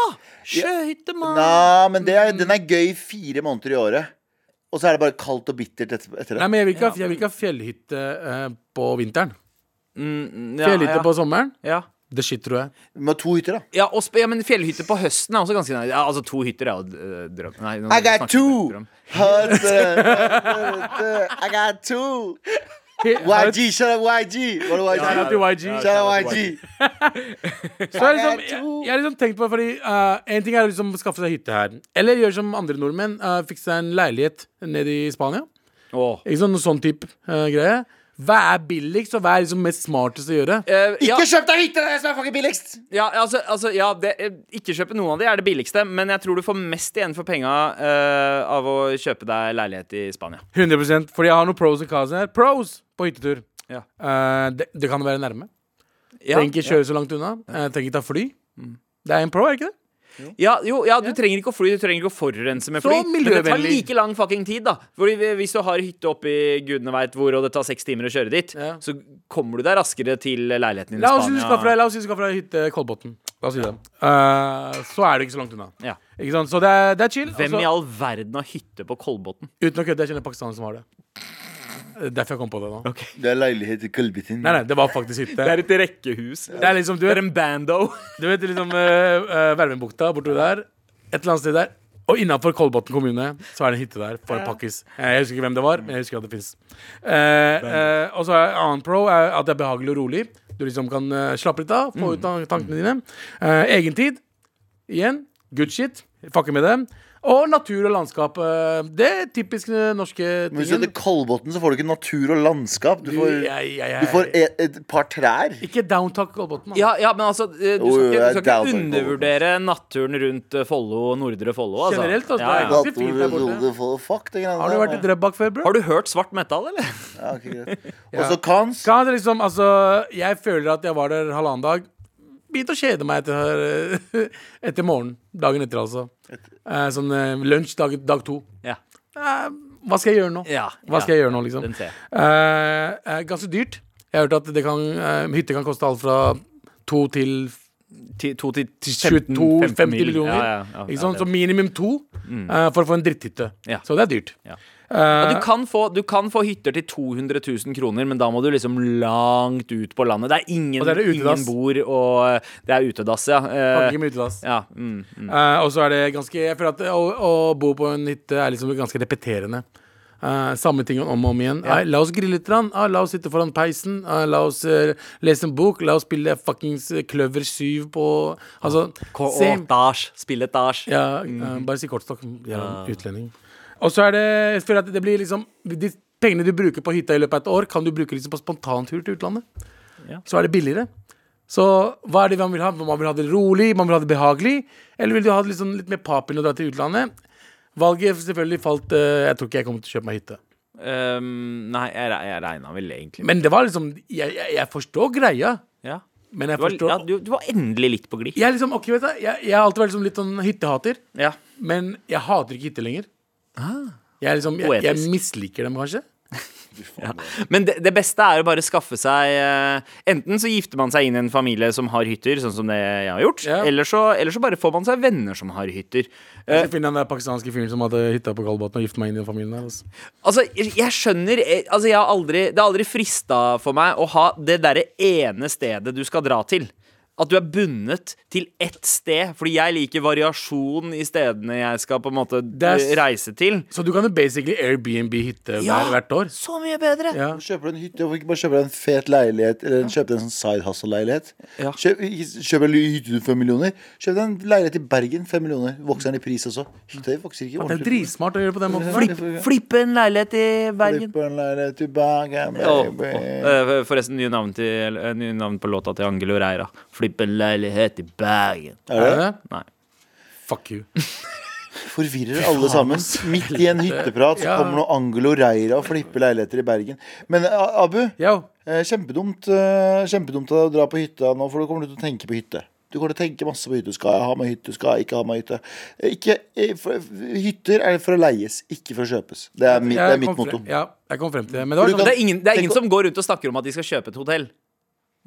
Sjøhytte, mann. Nei, men det er, den er gøy fire måneder i året. Og så er det bare kaldt og bittert etter, etter det. Nei, men jeg vil ikke ha, jeg vil ikke ha fjellhytte eh, på vinteren. Ja, Fjellhytte ja, på sommeren? ja. The shit, tror jeg. Vi må ha to hytter, da. Ja, og sp ja, men fjellhytte på høsten er også ganske nice. Ja, altså, to hytter er jo øh, drøm. Nei, nå I got snakker vi two! drøm. Hytte, hytte, [laughs] I got two! YG, shut up, YG! Var det YG? Shout out til YG. Shut up, YG. Så jeg, har liksom, jeg, jeg har liksom tenkt på fordi eh, En ting er å liksom å skaffe seg hytte her. Eller gjøre som andre nordmenn. eh, Fikse seg en leilighet nede i Spania. Åh. Ikke sånn, noe sånn type eh, greie. Hva er billigst, og hva er liksom mest smartest å gjøre? Eh, ja, Ikke kjøp deg hytte! Det er det som er fucking billigst! ja, altså, altså, ja det, eh, ikke kjøpe noen av de er det billigste, men jeg tror du får mest igjen for penga eh, av å kjøpe deg leilighet i Spania. 100 Fordi jeg har noen pros og cons her. Pros på hyttetur. Ja. Eh, det, det kan være nærme. Ja, Trenger ikke kjøre så langt unna. Eh, trenger ikke ta fly. Det er en pro, er det ikke det? ja, jo, ja, du trenger ikke å fly, du trenger ikke å forurense med Så fly. Men det tar miljøvennlig. like lang fucking tid, da. Fordi vi- hvis du har hytte oppe i gudene veit hvor, og det tar seks timer å kjøre dit, Ja. så kommer du deg raskere til leiligheten din i La oss si du skaffer Spania. deg, la oss si du skaffer deg hytte Kolbotn. La oss si det. Eh, så er det ikke så langt unna. Ja. Ikke sant? Så det er, det er chill. Hvem og i så- all verden har hytte på Kolbotn? Uten å kødde, jeg kjenner pakistanere som har det. Det er Derfor jeg kom på det nå. Det er leilighet i Kulbiten. Nei, nei, det var faktisk Det hytte. Det er et rekkehus. Det er liksom, du er vet, en bando. du vet liksom uh, Vervenbukta bortover der. Et eller annet sted der. Og innafor Kolbotn kommune så er det en hytte der for pakkis. Jeg husker ikke hvem det var, men jeg husker at det fins. og så er en annen pro er at det er behagelig og rolig. Du liksom kan eh, slappe litt av, Mm. få ut tan- tankene dine. Uh, Egentid. Igjen, good shit. Fucker med det. Og natur og landskap. eh, det er typisk eh, norske Men hvis du tingen. heter Kolbotn, så får du ikke natur og landskap. Du får, Jeg- jeg- du får et, et par trær. Ikke downtalk Kolbotn. da. Ja, ja, men altså, eh, du Jo, skal jo, ikke, jeg du skal doubter ikke ikke undervurdere naturen rundt eh, Follo og Nordre Follo. Altså. Generelt, altså, Ja, ja. det er fint der borte. Du får- Fuck, det greiene Har du vært i Drøbak før, bro? Har du hørt svart metal, eller? Ja, ok, greit. Og så Kans. Kan det liksom, altså, jeg føler at jeg var der halvannen dag. begynt å kjede meg etter, [laughs] etter morgenen. Dagen etter, altså. Eh, sånn eh, lunsj dag, dag to. Ja. Eh, hva skal jeg gjøre nå? Ja, hva skal ja. jeg gjøre nå, liksom? Den ser jeg. Eh, eh, ganske dyrt. Jeg har hørt at det kan, eh, hytte kan koste alt fra to til Ti- To til 15 22-50 mil. millioner. Ja, ja, ja, ikke ja, sant? det- Mm. Så minimum to eh, for å få en dritthytte. Ja. Så det er dyrt. Ja. Eh, Ja, du, kan få, du kan få hytter til 200 000 kroner, men da må du liksom langt ut på landet. Det er ingen, Og der er det utedass. ingen bor, og det er utedass, ja. Eh, Pakker med utedass. ja mm, mm. Eh, og så er det ganske Jeg føler at å, å bo på en hytte er liksom ganske repeterende. Eh, samme ting om og om igjen. Eh, la oss grille litt. grann. Ah, la oss sitte foran peisen. Ah, la oss eh, lese en bok. La oss spille fuckings eh, Kløver 7 på Altså, same. Kåtasj. Spilletasj. Ja, eh, Mhm. bare si kortstokk. Jeg er Ah. en utlending. Og så er det jeg føler at det blir liksom De pengene du bruker på hytta i løpet av et år, kan du bruke liksom på spontantur til utlandet. Ja. Så er det billigere. Så hva er det man vil ha? Man vil ha det rolig, man vil ha det behagelig. Eller vil du ha det litt, sånn, litt mer papil når du drar til utlandet? Valget selvfølgelig falt eh, Jeg tror ikke jeg kommer til å kjøpe meg hytte. Um, nei, jeg, re- jeg regna vel egentlig Men det var liksom Jeg, jeg, jeg forstår greia. ja. Men jeg du, var, forstår ja, du, du var endelig litt på glid. Jeg er liksom, ok, vet du, jeg, jeg har alltid vært liksom litt sånn hyttehater. Ja. Men jeg hater ikke hytter lenger. Ah. Jeg, er liksom, jeg, jeg Poetisk. misliker dem kanskje. Men det, det beste er jo bare å skaffe seg eh, Enten så gifter man seg inn i en familie som har hytter, sånn som det jeg har gjort, Ja. eller, så, eller så bare får man seg venner som har hytter. Eh, Jeg skal finne den der pakistanske fyren som hadde hytta på Kalbotn og gifte meg inn i den familien her. Altså. Altså, jeg skjønner eh, altså, jeg har aldri, Det har aldri frista for meg å ha det derre ene stedet du skal dra til. At du er bundet til ett sted. Fordi jeg liker variasjon i stedene jeg skal på en måte Det er s- reise til. Så du kan jo basically Airbnb-hytte Ja! hver, hvert år. Så mye bedre! Ja. Kjøper du en hytte, hvorfor ikke bare kjøpe deg en fet leilighet? Eller kjøpe deg en sånn side hustle-leilighet? Ja. Kjøp, ikke- kjøp en hytte til fem millioner. Kjøp deg en leilighet i Bergen, fem millioner. Vokser den i pris også? Hytter vokser ikke Det er ordentlig. dritsmart å gjøre det på den måten. Flipp. Flipp. Flippe en leilighet i Bergen. Flipper en leilighet i Bergen, Å, baby. å, eh, forresten, nye navn, til, eh, nye navn på låta til Angelo Reira. Flippe en leilighet i Bergen. Er det det? Nei. Fuck you. Forvirrer alle sammen. Midt i en hytteprat så Ja. kommer noe Angelo Reira og flipper leiligheter i Bergen. Men eh, Abu, Yo. eh, kjempedumt, eh, kjempedumt av deg å dra på hytta nå, for du kommer til å tenke på hytte. Du kommer til å tenke masse på hytte. Skal jeg ha meg hytte? Skal jeg ikke ha meg hytte? Eh, Ikke, eh, for, hytter er for å leies, ikke for å kjøpes. Det er, mitt- [laughs] det Jeg er mitt kom frem- motto. Ja, jeg kom frem til det. Men det var For du sånn, Det er ingen, det er ingen Tenk å- som går rundt og snakker om at de skal kjøpe et hotell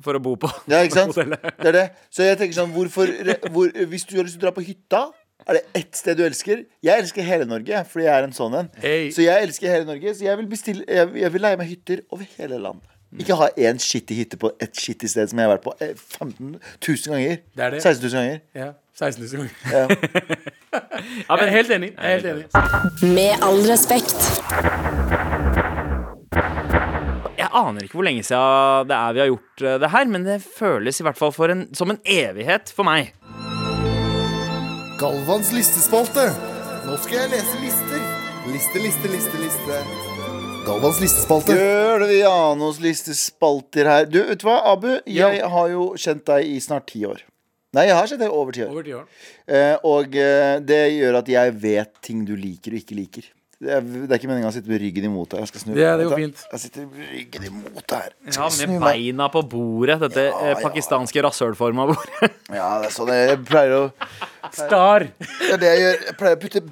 for å bo på. Ja, ikke sant? Hotellet. [laughs] Det er det. Så jeg tenker sånn, hvorfor hvor, Hvis du har lyst til å dra på hytta, er det ett sted du elsker? Jeg elsker hele Norge, fordi jeg er en sånn en. Hey. Så jeg elsker hele Norge, så jeg vil, bestille, jeg, jeg vil leie meg hytter over hele landet. Mm. Ikke ha én skittig hytte på ett skittig sted som jeg har vært på eh, 15 000 ganger. Det er det. 16 000 ganger. ja, 16 000 ganger. Ja. [laughs] Jeg er helt enig. Jeg er helt enig. Med all respekt. Jeg aner ikke hvor lenge siden det er vi har gjort eh, det her, men det føles i hvert fall for en, som en evighet for meg. Galvans listespalte. Nå skal jeg lese lister. Liste, liste, liste, liste. Galvans listespalte. Gørvianos listespalter her. Du, vet du hva, Abu? Jeg Ja. har jo kjent deg i snart ti år. Nei, jeg har kjent deg i over ti år. Over ti år. Eh, og eh, det gjør at jeg vet ting du liker og ikke liker. Det er, det er ikke meninga å sitte med ryggen imot deg. Jeg skal snu. Ja, det går Vent da. fint. Jeg sitter med ryggen imot deg her. Ja, Snu Med meg. beina på bordet, dette Ja, eh, ja. pakistanske rasshølforma bordet. [laughs] Ja, det er sånn jeg, jeg pleier å Star. Det er det jeg gjør. Jeg pleier å putte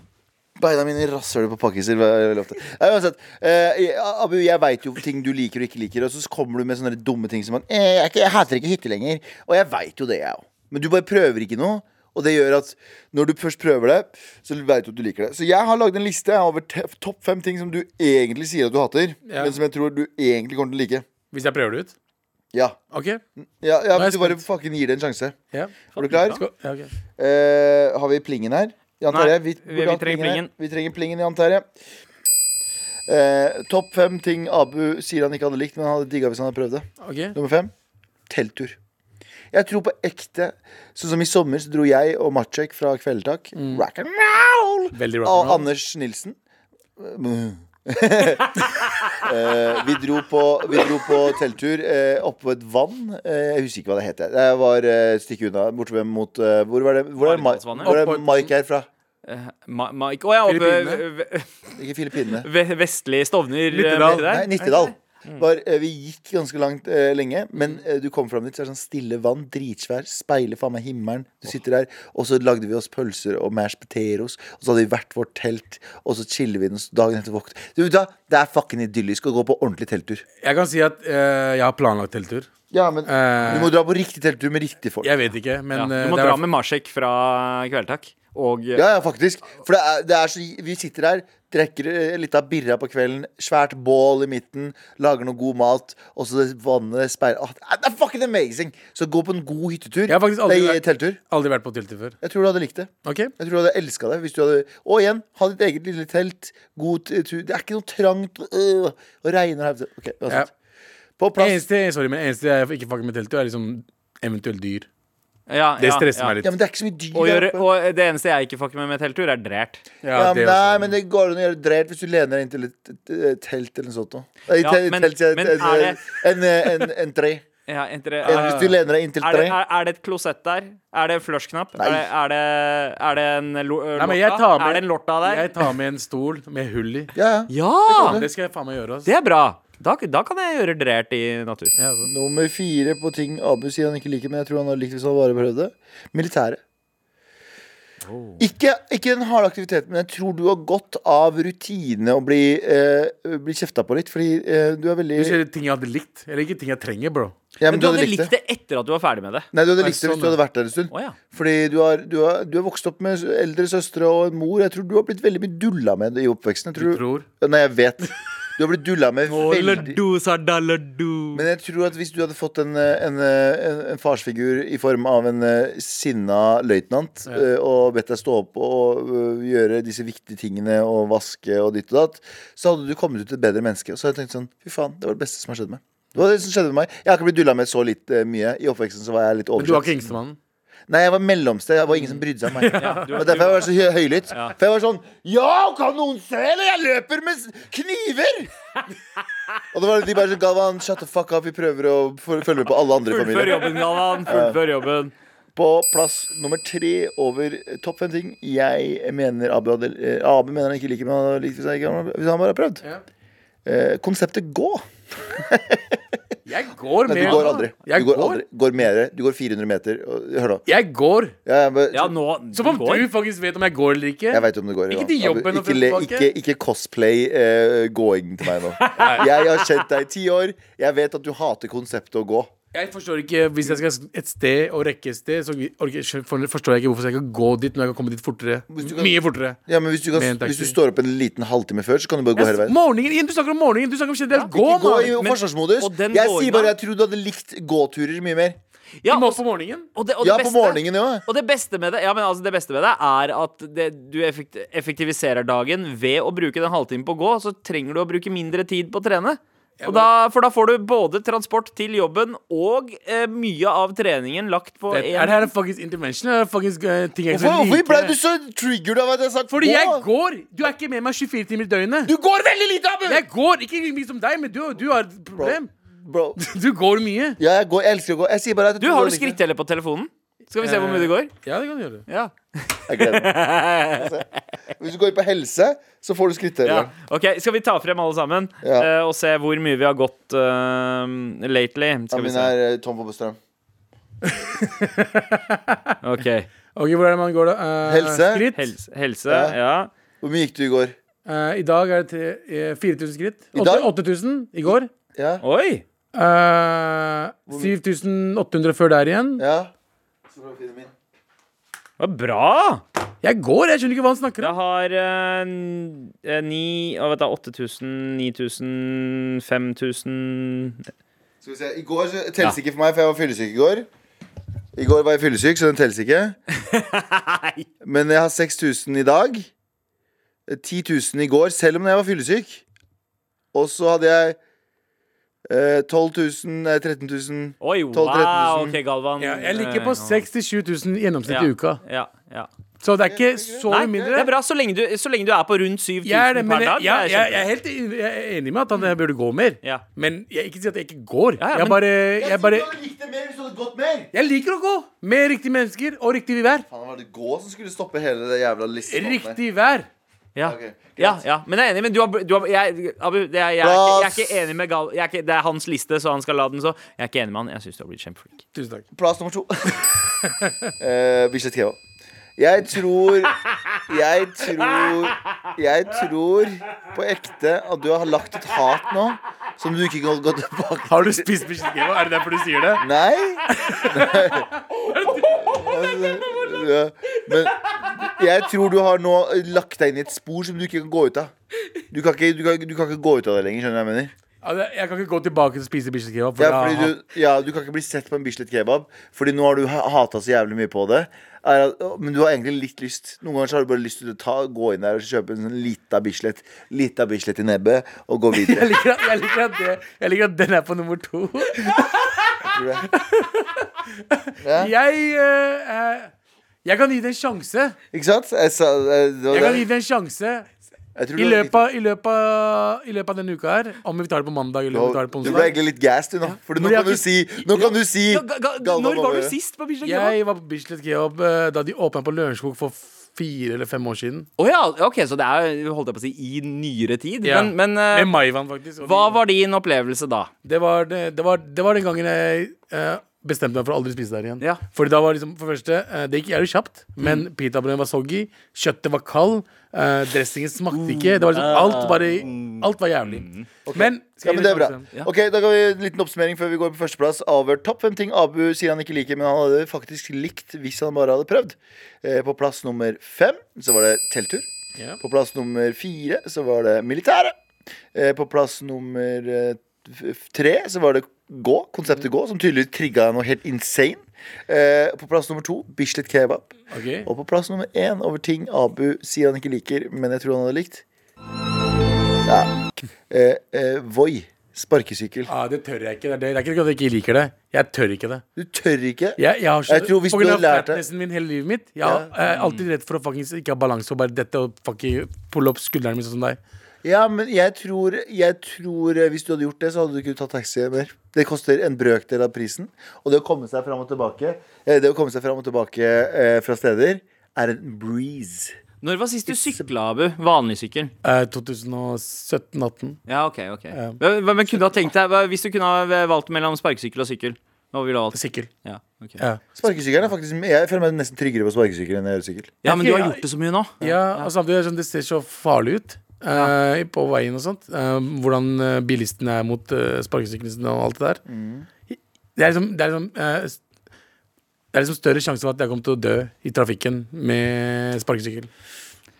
beina mine i rasshølet på pakkiser. ve- veldig ofte. Nei, uansett. Eh, Abu, jeg veit jo ting du liker og ikke liker, og så kommer du med sånne dumme ting som at eh, jeg, er ikke- jeg hater ikke hytte lenger. Og jeg veit jo det, jeg òg. Men du bare prøver ikke noe. Og det gjør at når du først prøver det, så veit du at du liker det. Så jeg har lagd en liste over te- topp fem ting som du egentlig sier at du hater, Ja. men som jeg tror du egentlig kommer til å like. Hvis jeg prøver det ut. Ja. OK? ja, Nå er ja jeg hvis du bare spent. fucking gir det en sjanse. Ja. Er du klar? Skal- ja, ok. Eh, har vi plingen her? Jan Nei, Terje? vi, vi- burde vi hatt trenger her. plingen. Vi trenger plingen, Jan Terje. Eh, Topp fem ting Abu sier han ikke hadde likt, men han hadde digga hvis han hadde prøvd det. Ok. Nummer fem telttur. Jeg tror på ekte Sånn som i sommer så dro jeg og Matsjek fra Kveldtak Mm. Rock and roll! Veldig Av rock'n'roll. Anders Nilsen. [laughs] Eh, vi, dro på, vi dro på telttur eh, oppe ved et vann. Eh, jeg husker ikke hva det het. jeg. Det var eh, et stykke unna. Borte ved mot eh, Hvor var det Hvor er, Ma Varidalsvannet. hvor er Mike her fra? Ma Mike Å ja, oppe Filippinene. v- Ikke Filippinene. v- vestlig Stovner. eh, Nittedal. borti der. Nei, Nittedal. var eh, Vi gikk ganske langt eh, lenge, men eh, du kom fram dit, så er det sånn stille vann, dritsvær, speiler faen meg himmelen. Du sitter der, og så lagde vi oss pølser og mashed potatoes, og så hadde vi hvert vårt telt, og så chiller vi den så dagen etter våkt. Du vet da, Det er fucking idyllisk å gå på ordentlig telttur. Jeg kan si at eh, jeg har planlagt telttur. Ja, men Eh. Du må dra på riktig telttur med riktige folk. Jeg vet ikke, men Ja. eh, Du må det er- dra med Masek fra Kveldtak. Og eh, Ja, ja, faktisk. For det er, det er så, vi sitter her, drikker eh, litt av birra på kvelden, svært bål i midten, lager noe god mat, og så det vannet speiler Åh, Det er fucking amazing! Så gå på en god hyttetur. Jeg har faktisk aldri Nei, vært- telttur. Aldri vært på telttur før. Jeg tror du hadde likt det. Ok? Jeg tror du hadde elska det. Hvis du hadde, og igjen, ha ditt eget lille telt. God t- tur. Det er ikke noe trangt øh, og regner her. Ok, Ja. uansett. På plass. Eneste, sorry, men eneste jeg ikke fucker med telttur, er liksom eventuelt dyr. Ja, Det ja, stresser ja. meg litt. Ja, men det er ikke så mye dyr Og, der gjøre, oppe. og det eneste jeg ikke fucker med med telttur, er drært. Ja, det også. men nei, men det går an å gjøre dreit hvis du lener deg inntil et, et, et telt eller noe sånt. da. Nei, Ja, telt, men- telt, sier jeg, men er det- en, en, en, en tre. [laughs] Ja, er, det, En, hvis du lener deg inntil er, tre. det, er det et klosett der? Er det en flush-knapp? Nei. Er, det- er, det- er det en lo, Nei, lorta? men jeg tar med- er det en lorta der? Jeg tar med en stol med hull i. Ja, ja. ja! Det skal jeg faen meg gjøre. altså. ass. Det er bra. Da, da kan jeg gjøre drært i natur. Ja, altså. Nummer fire på ting Abu sier han ikke liker, men jeg tror han har likt hvis han bare prøvde. Militæret. Oh. Ikke, ikke den harde aktiviteten, men jeg tror du har godt av rutine og bli, eh, bli kjefta på litt. Fordi eh, du er veldig Du sier ting jeg hadde likt. Eller ikke ting jeg trenger, bro. ja, Men du hadde likt det etter at du var ferdig med det. Nei, du hadde Nei, likt det sånn, hvis du hadde vært der en stund. Å ja. Fordi du har, du, har, du har vokst opp med eldre søstre og en mor. Jeg tror du har blitt veldig mye dulla med det i oppveksten. Jeg Du tror, tror. Nei, jeg vet. Du har blitt dulla med veldig Men jeg tror at hvis du hadde fått en, eh, en, eh, en, en farsfigur i form av en eh, sinna løytnant eh, og bedt deg stå opp og eh, gjøre disse viktige tingene og vaske og ditt og datt, så hadde du kommet ut et bedre menneske. Og så hadde jeg tenkt sånn Fy faen, det var det beste som har skjedd meg. Det var det som skjedde med meg. Jeg har ikke blitt dulla med så litt eh, mye. I oppveksten så var jeg litt Men du var oversett. ikke yngstemannen. Nei, jeg var mellomsted. Det var ingen som brydde seg om meg. du- Og derfor jeg var så hø- høylytt. For jeg var sånn Ja, kan noen se, eller? Jeg løper med s- kniver! og det var de bare sånn Galvan, shut the fuck up. Vi prøver å f- følge med på alle andre i Fullfør familien. jobben, Galvan. Fullfør jobben. På plass nummer tre over eh, topp fem ting jeg mener Abu hadde eh, Abu mener han ikke liker, men han hadde likt hvis han, ikke, hvis han bare har prøvd. Eh, konseptet gå. Jeg går Nei, mer. du går aldri. Jeg Du går, går. aldri. går mer. Du går 400 meter. og- Hør, da. Jeg går. Ja, jeg bare- Ja, nå Som om det går. du faktisk vet om jeg går eller ikke. Jeg veit om det går. Ikke Johan. til jobben og ikke, le, frem og ikke, tilbake. ikke cosplay eh, gåing til meg nå. Jeg har kjent deg i ti år. Jeg vet at du hater konseptet å gå. Jeg forstår ikke Hvis jeg skal et sted og rekke et sted, så orker- forstår jeg ikke hvorfor jeg skal gå dit når jeg kan komme dit fortere. Hvis du kan- Mye fortere. Ja, men hvis du, kan, Med en taxi. hvis du står opp en liten halvtime før, så kan du bare gå hele veien. Morgenen, igjen, Du snakker om morgenen, du snakker om generelt. Gå, Ikke gå i mann! men- forsvarsmodus. og den Jeg gåinga- sier bare jeg tror du hadde likt gåturer mye mer. Ja, Du må og, på morgenen. og det, og det Ja, på beste- morgenen, ja. Og det beste med det, ja, men altså det beste med det er at det, du effekt, effektiviserer dagen ved å bruke den halvtimen på å gå, så trenger du å bruke mindre tid på å trene. Og da, for da får du både transport til jobben og eh, mye av treningen lagt på Det, er det én her en fuckings intervention? Er det faktisk, eh, ting jeg ikke Hvorfor, skal hvorfor ble du like? så triggered av at jeg sa Fordi jeg gå? går! Du er ikke med meg 24 timer i døgnet. Du går veldig lite, Abu! Jeg går ikke like mye som deg, men du, du har et problem. Bro. Du går mye. Ja, jeg, går, jeg elsker å gå. Jeg sier bare at jeg Du, tror har du hadde likt skritteller på telefonen? Skal vi se hvor mye det går? Ja, det kan du gjøre. Ja. det. Jeg gleder meg. Hvis du går på helse, så får du ja. skritteller. Ok, Skal vi ta frem alle sammen Ja. eh, og se hvor mye vi har gått eh, lately? Ja. Skal vi Min se. er eh, tom for bustrøm. Ok, Ok, Hvor er det man går, da? Eh, Helse. Skritt. Helse, helse Ja. ja. Hvor mye gikk du i går? Eh, I dag er det til- eh, 4000 skritt. I dag? 8000 i går. Ja? Oi! Eh, 7800 før der igjen. Ja? Det var bra! Jeg går, jeg skjønner ikke hva han snakker Jeg om. har eh, n- eh, ni Å, vet du, 8000, 9000, 5000 Skal vi se, I går så telles ikke for meg, for jeg var fyllesyk i går. I går var jeg fyllesyk, så den telles ikke. Men jeg har 6000 i dag. 10 000 i går, selv om jeg var fyllesyk. Og så hadde jeg eh, 12 000, nei 13 000 Oi, 12 000. wow! Ok, Galvan. Ja, jeg ligger eh, på 6000-7000 i gjennomsnitt i uka. Ja, ja. Så det er ikke så Nei, mye det mindre. er bra så lenge du, så lenge du er på rundt 7000 Jeg er, det, men per jeg, dag. jeg, det er jeg, jeg er helt enig- jeg er enig med at han eh, burde gå mer. Ja. Men jeg ikke si at jeg ikke går. Ja, ja, Jeg men- bare Jeg, bare, likte mer hvis du hadde gått mer! jeg liker å gå med riktige mennesker og riktig vær. Faen, var det gå som skulle stoppe hele det jævla listen? Riktig vær. Ja. Ok, ja, ja. Men jeg er enig, men du har, du har jeg, Abu, det er, jeg, er ikke, jeg er ikke enig med Gal... Jeg er ikke, det er hans liste, så han skal la den så. Jeg er ikke enig med han. Jeg syns du har blitt kjempeflink. Tusen takk. Plass nummer to. [laughs] Eh, Bislett Keva. Jeg tror Jeg tror Jeg tror på ekte at du har lagt et hat nå som du ikke kan gå tilbake Har du spist bislett-kebab? Er det derfor du sier det? Nei. Altså, ja, Men jeg tror du har nå lagt deg inn i et spor som du ikke kan gå ut av. Du kan ikke, du kan, du kan ikke gå ut av det lenger, skjønner du hva jeg mener? Ja, det- Jeg kan ikke gå tilbake til å spise bislett-kebab. for Ja, da- fordi du, ja, du kan ikke bli sett på en Bislett kebab, Fordi nå har du hata så jævlig mye på det. Er at, å, men du har egentlig litt lyst. Noen ganger så har du bare lyst til å ta, gå inn der og kjøpe en sånn lita Bislett Lita Bislett i nebbet og gå jeg, [laughs] videre. liker at, jeg, liker at det, jeg liker at den er på nummer to. Tror du det? Ja. Jeg eh, eh, Jeg kan gi det en sjanse. Ikke sant? Jeg, sa, eh, det var Jeg kan det. gi det en sjanse Jeg tror i du- løpet, av- i, løpet av, i løpet av denne uka her. Om vi tar det på mandag eller om vi tar det på du ble onsdag. egentlig litt gassed, du nå. For nå Men jeg kan du har si Nå kan du si Galvan når var Måløy. du sist på Bislett Kebab? Jeg var på Bislett Geob eh, da de åpna på Lørenskog for fire eller fem år siden. Å ja, ok, så det er holdt jeg på å si i nyere tid. Ja. Men, men eh, Med Maivan, faktisk. og hva de- var din opplevelse da? Det var, det, det, var, det var den gangen jeg eh, bestemte meg for å aldri spise der igjen. Ja. Fordi da var liksom, for det første, eh, det gikk jævlig kjapt, men pitabrødet var soggy, kjøttet var kald, eh, dressingen smakte ikke. Det var liksom, alt, bare, alt var jævlig. Men, skal liksom jeg Ja, men gi det er bra. sjansen? Ok, Da ga vi en liten oppsummering før vi går på førsteplass. Avhør topp fem ting Abu sier han ikke liker, men han hadde faktisk likt hvis han bare hadde prøvd. Eh, På plass nummer fem så var det telttur. Ja. På plass nummer fire så var det militæret. Eh, På plass nummer eh, f- tre så var det gå, konseptet gå, som tydeligvis trigga noe helt insane. Eh, På plass nummer to Bislett kebab. Ok. Og på plass nummer én over ting Abu sier han ikke liker, men jeg tror han hadde likt. Ja. Eh, eh, Voi. Sparkesykkel. Ah, det tør jeg ikke. Det er, det. det er ikke at jeg ikke liker det. Jeg tør ikke det. Du tør ikke. Jeg, jeg har så, Jeg tror hvis på du grunn av hadde lært det- fatnessen min hele livet mitt. Jeg, har- jeg er alltid redd for å fuckings ikke ha balanse og bare dette og fucking pulle opp skulderen min sånn som deg. Ja, men jeg tror, jeg tror eh, Hvis du hadde gjort det, så hadde du ikke tatt taxi mer. Det koster en brøkdel av prisen. Og det å komme seg fram og tilbake eh, Det å komme seg fram og tilbake eh, fra steder er en breeze. Når var sist du sykla, Abu? Vanlig sykkel? Eh, 2017-18. Ja, ok, ok Ja. Men, men- men kunne du ha tenkt deg hva- Hvis du kunne ha valgt mellom sparkesykkel og sykkel, hva ville du ha valgt? Sikkert. Ja, ok. Ja. Sparkesykkelen er faktisk Jeg føler meg nesten tryggere på sparkesykkel enn jeg gjør sykkel. ja, men du har gjort det så mye nå. Ja, og samtidig er det sånn, det ser så farlig ut eh, på veien og sånt. Eh, hvordan eh, bilistene er mot uh, sparkesyklistene og alt det der. Mm. Det er liksom, det er liksom eh, s- det er liksom større sjanse for at jeg kommer til å dø i trafikken med sparkesykkel.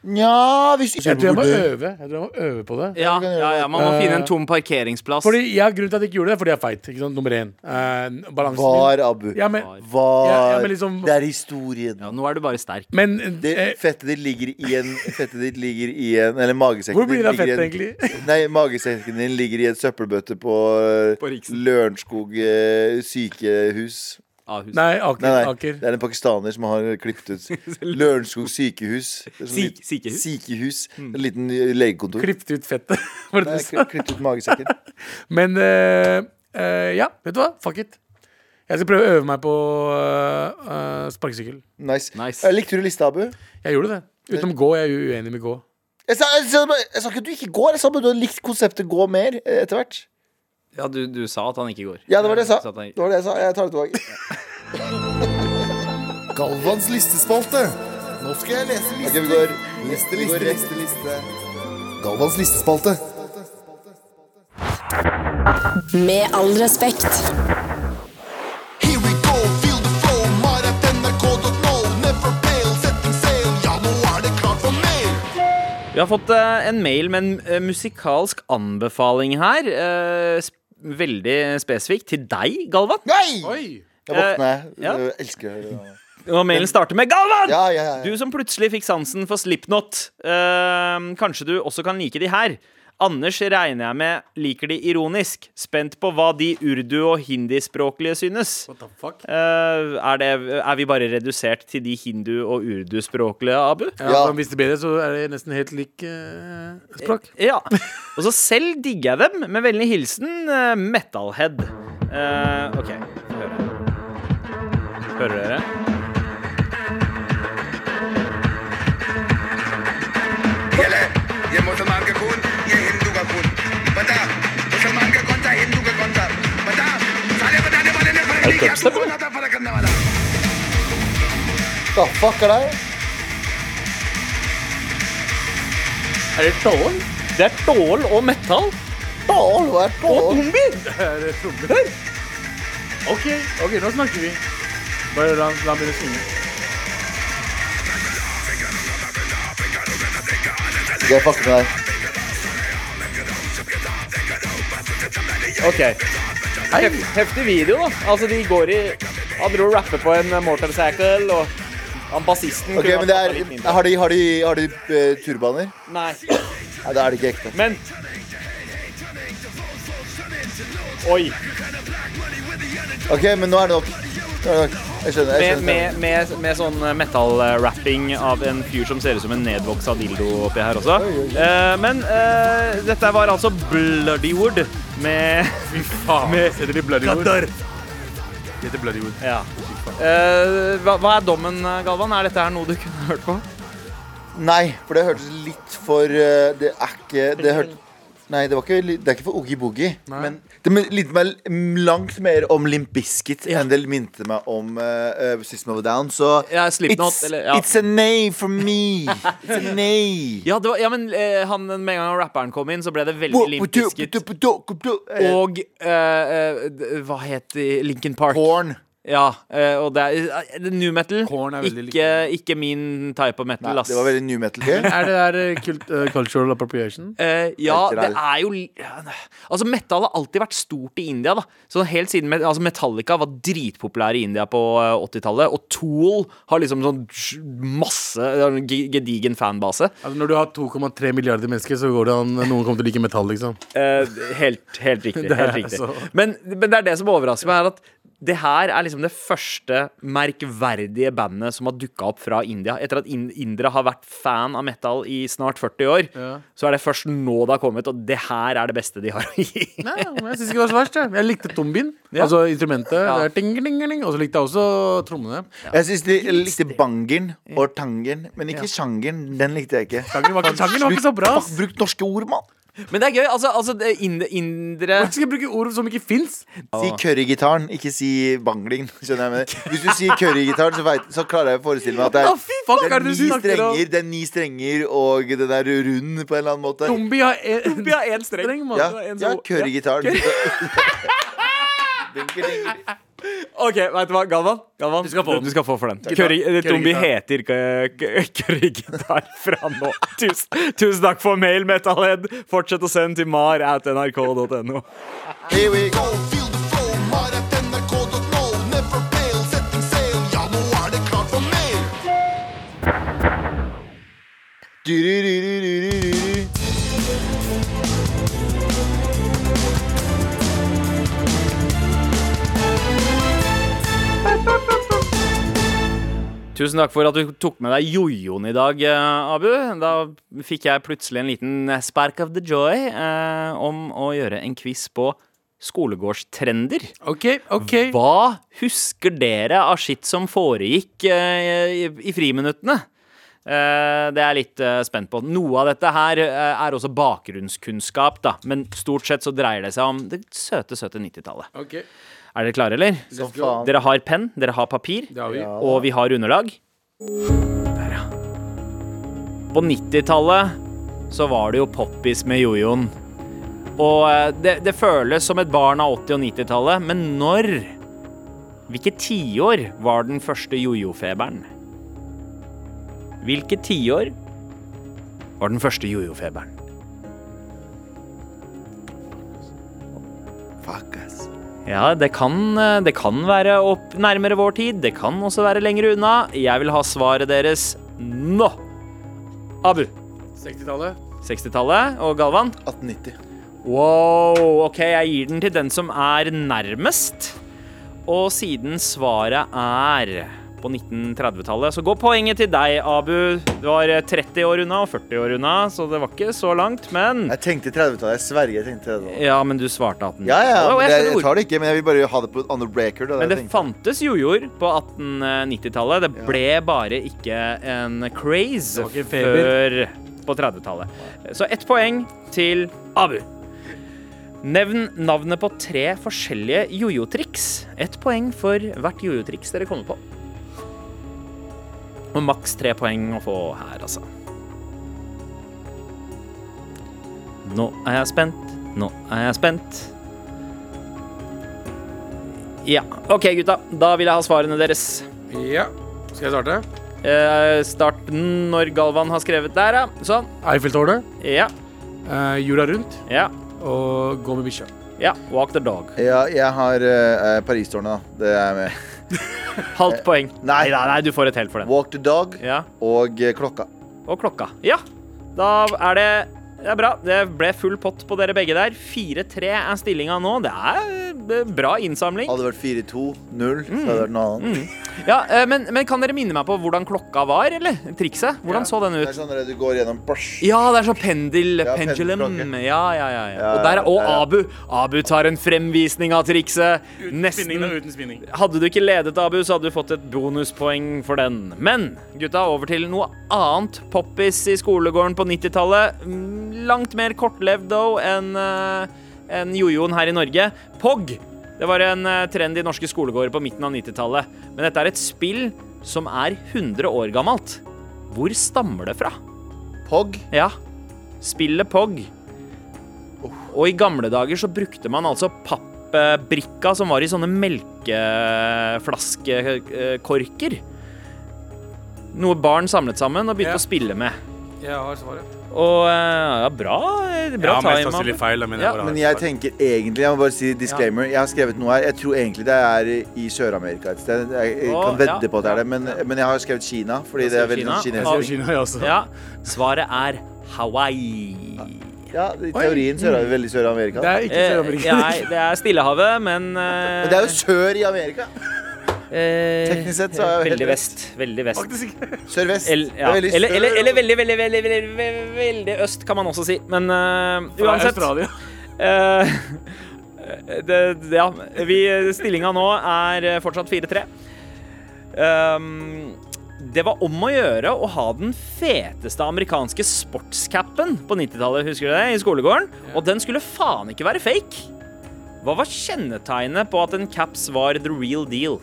Nja, hvis Jeg tror jeg må øve Jeg tror jeg må øve på det. Ja, ja, ja, man må Eh, finne en tom parkeringsplass. Fordi jeg, Grunnen til at jeg ikke gjorde det, er fordi jeg er feit. Ikke sant? Nummer én. Eh, balansen min. Var, Abu. Ja, men, Var. Ja, ja, men liksom- Det er historien. ja, nå er du bare sterk. men Det, eh, fettet ditt ligger i en Fettet ditt ligger i en Eller magesekken hvor blir det av ligger i fett, en- egentlig? [laughs] Nei, magesekken din ligger i en søppelbøtte på, eh, Lørenskog eh, sykehus. Ahus. Nei, Aker. Nei, nei, Aker. det er en pakistaner som har klippet [laughs] ut. Lørenskog sykehus. Det er sånn Si- litt- sykehus? Mm. Sykehus. En liten eh, legekontor. Klippet ut fettet. [laughs] var det Nei, du sa. kli- klippet ut magesekken. Men eh, eh, ja, vet du hva? Fuck it. Jeg skal prøve å øve meg på eh, eh, sparkesykkel. Nice. Nice. Eh, Likte du lista, Abu? Jeg gjorde det. Utenom gå. Jeg er jo uenig med gå. Jeg sa, jeg, sa, jeg sa ikke at du ikke går, jeg sa bare du har likt konseptet gå mer eh, etter hvert. Ja, du, du sa at han ikke går. Ja, det var det jeg Så sa. at han- Det var det jeg sa. Jeg tar det tilbake. [laughs] Galvans listespalte. Nå skal jeg lese Ok, vi lister. går Liste, vi går liste, rett. liste, liste. Galvans listespalte. Med all respekt. Here we go, feel the flow. Maratnrk.no. Never fail, setting sail. Ja, nå er det klart for mer. Vi har fått eh, en mail med en eh, musikalsk anbefaling her. eh, sp veldig spesifikt til deg, Galvan. Nei! Oi! Jeg våkner. Eh, ja. Jeg elsker å høre det. Eh, Og mailen starter med Galvan! Ja, ja, ja. Du som plutselig fikk sansen for Slipknot. Eh, kanskje du også kan like de her. Anders regner jeg med liker de ironisk. Spent på hva de urdu- og hindispråklige synes. What the fuck? Eh, er, det, er vi bare redusert til de hindu- og urdu-språklige, Abu? Ja, Ja. men Hvis det er bedre, så er det nesten helt lik eh, språk. Ja. Og så selv digger jeg dem. Med vennlig hilsen eh, Metalhead. Eh, OK. Få høre. Hører dere? Hele dubstep, eller? Da fucker deg. Er det tål? Det er tål og metall. Bål, hva er bål? Er det trommer? OK, ok, nå snakker vi. Bare la la han begynne å synge. Jeg fucker med deg. Ok. Hef, heftig video, da. Altså, de går i Han dro og rapper på en eh, motorcycle, og han bassisten Ok, men det er, Har de, har de, har de eh, turbaner? Nei. Nei, da er det ikke ekte. Men Oi. Ok, men nå er det nok. Nå er det nok. Jeg skjønner. jeg Med, skjønner. med, med, med sånn metal-rapping av en fyr som ser ut som en nedvoksa dildo oppi her også. Eh, men eh, dette var altså Bloodywood [laughs] med, med Heter de Bloodywood? Qatar. De heter Bloodywood. Ja. Eh, hva, hva er dommen, Galvan? Er dette her noe du kunne hørt på? Nei, for det hørtes litt for eh, Det er ikke Det hørte Nei, det, var ikke, li- det er ikke for Oogie Boogie. Men det min- minte meg l- langt mer om Limp Bizkit enn det minte meg om eh, eh, System of a Down. Så Ja, Slipknot, it's, eller- ja. it's a nay for me. It's a nay. Ja, det var, ja men eh, han, med en gang rapperen kom inn, så ble det veldig Limp Bizkit. Og Og eh, eh, d- hva het de? Lincoln Park. Porn. Ja, eh, og det er eh, det er new metal. Korn er veldig Ikke, ikke min type of metal, Nei, ass. det var veldig new metal. ikke? Er det der eh, kult, eh, cultural appropriation? Eh, ja, Helt det ræl. er jo li- ja, ne- Altså, metal har alltid vært stort i India, da. Så helt siden met- altså, Metallica var dritpopulær i India på eh, 80-tallet, og Tool har liksom sånn sj- masse det er en ge- gedigen fanbase. Altså, når du har 2,3 milliarder mennesker, så går det an noen kommer til å like metall, liksom. Eh, helt, helt [laughs] riktig. Det er Helt riktig. så- Men, men det er det som overrasker meg, er at det her er liksom det første merkverdige bandet som har dukka opp fra India. Etter at in indere har vært fan av metal i snart 40 år, så er det først nå det har kommet, og det her er det beste de har å gi. Nei, men jeg syns ikke det var så verst. Jeg, jeg likte tombien, Ja. altså instrumentet. Det er Ting, ting, ting. Og så likte jeg også trommene. Jeg syns de likte bangeren og tangeren, men ikke sjangeren. Den likte jeg ikke. Sangen var, ikke- sangen var ikke så bra. Fuck, ass. Bruk norske ord, mann! [laughs] Men det er gøy. Altså, altså det ind indre Hvorfor skal jeg bruke ord som ikke fins? Si Ah. currygitaren, ikke si bangling. Skjønner jeg hva jeg mener. Hvis du sier currygitaren, så, vet- så klarer jeg å forestille meg at det Hva er fuck det er er det ni du snakker om? strenger, det er ni strenger og den er rund på en eller annen måte. Zombie har en- Vi har én streng. streng, mann. Ja, Det var en ja som- currygitaren. [laughs] Dunker, dunker. OK, vet du hva, Galvan? Galvan du, skal få for den. Curry, Tombi heter currygitar fra nå. [laughs] Tusen, tusen takk for mail, Metalhead. Fortsett å sende til mar at nrk.no. Here we go. Feel the flow, mar at nrk.no. तो Never fail, sett en sail. Ja, nå er det klart for mer. Dururururururu. Tusen takk for at du tok med deg jojoen i dag, eh, Abu. Da fikk jeg plutselig en liten eh, spark of the joy eh, om å gjøre en quiz på skolegårdstrender. OK, OK. Hva husker dere av skitt som foregikk eh, i, i friminuttene? Eh, det er jeg litt eh, spent på. Noe av dette her eh, er også bakgrunnskunnskap, da. Men stort sett så dreier det seg om det søte, søte 90-tallet. Ok, Er dere klare, eller? Som faen. Dere har penn, dere har papir, Det har vi. og vi har underlag. Der, ja. På 90-tallet så var det jo poppis med jojoen. Og eh, det, det føles som et barn av 80- og 90-tallet, men når Hvilke tiår var den første jojo-feberen? Hvilke tiår var den første jojo-feberen? Fuck, ass. Ja, det kan, eh, det kan være opp nærmere vår tid. Det kan også være lenger unna. Jeg vil ha svaret deres nå. Abu. 60-tallet. 60-tallet og Galvan. 1890. Wow, ok, jeg gir den til den som er nærmest. Og siden svaret er på 1930-tallet, så går poenget til deg, Abu. Du var 30 år unna og 40 år unna, så det var ikke så langt, men Jeg tenkte 30-tallet. Jeg sverger jeg tenkte 30-tallet. Ja, men du svarte 18. Ja, ja, Wow, men jeg jeg, skjønner jeg tar det ikke, men jeg vil bare ha det på on the record. da, Men jeg det tenkte. fantes jojoer på 1890-tallet. Det ble bare ikke en craze Det var ikke en før feber. på 30-tallet. Så ett poeng til Abu. Nevn navnet på tre forskjellige jojo-triks. Ett poeng for hvert jojo-triks dere kommer på. Og maks tre poeng å få her, altså. Nå er jeg spent. Nå er jeg spent. Ja. OK, gutta. Da vil jeg ha svarene deres. Ja. Skal jeg starte? Eh, start når Galvan har skrevet der, ja. Sånn. Eiffeltårnet, Ja. eh, jorda rundt Ja. og gå med bikkja. Ja. Walk the dog. Ja, jeg har eh, Paristårnet, da. Det er jeg med. Halvt poeng. Eh, nei. nei, nei, du får et helt for den. Walk the dog Ja. og eh, klokka. Og klokka. Ja. Da er det Det er bra. Det ble full pott på dere begge der. 4-3 er stillinga nå. Det er eh, bra innsamling. Hadde det vært 4-2-0, så hadde det vært noe annet. Ja, eh, men, men kan dere minne meg på hvordan klokka var, eller? Trikset? Hvordan så den Det er ut? sånn at du går gjennom bæsj. Ja, det er sånn pendel, Ja, pendulum. pendelklokke. Ja, ja, ja. ja. Ja, Og, der, er- og ja, ja. Abu. Abu tar en fremvisning av trikset. Nesten. uten spinning. Hadde du ikke ledet, Abu, så hadde du fått et bonuspoeng for den. Men gutta, over til noe annet poppis i skolegården på 90-tallet. Mm, Langt mer kortlevd, though, enn eh, enn jojoen her i Norge. POG! Det var en eh, trend i norske skolegårder på midten av 90-tallet. Men dette er et spill som er 100 år gammelt. Hvor stammer det fra? Pog. Ja, spillet POG. Og i gamle dager så brukte man altså pappbrikka som var i sånne melkeflaskekorker. Noe barn samlet sammen og begynte Ja. å spille med. Jeg har svaret. Og eh, ja, bra, eh, bra ja, mest time. sannsynlig Abu. feil. da, Men, jeg Ja, bare har Men et jeg svar. tenker egentlig Jeg må bare si disclaimer. Jeg har skrevet noe her. Jeg tror egentlig det er i Sør-Amerika et sted. Jeg, jeg Å, kan vedde ja. på at det er det, men, men jeg har skrevet Kina. Fordi Du det har er veldig skrevet sånn Kina? Jeg sier kinesisk. Kina, jeg også. Ja, svaret er Hawaii. Ja, I teorien så er det veldig Sør-Amerika. Det er ikke Eh, Sør-Amerika. nei, det er Stillehavet, men eh, Men det er jo sør i Amerika. eh, Teknisk sett så er jeg jo Veldig helt vest. Veldig vest. [laughs] Faktisk ikke. Sør-vest. El, Det ja. er veldig eller, sør- eller, eller veldig, veldig, veldig, veldig, veldig, veldig øst, kan man også si. Men eh, Fra uansett Australia. eh, [laughs] det, Ja, vi, stillinga nå er eh, fortsatt 4-3. Um, det var om å gjøre å ha den feteste amerikanske sportscapen på 90-tallet, husker du det, i skolegården? Og den skulle faen ikke være fake. Hva var kjennetegnet på at en caps var the real deal?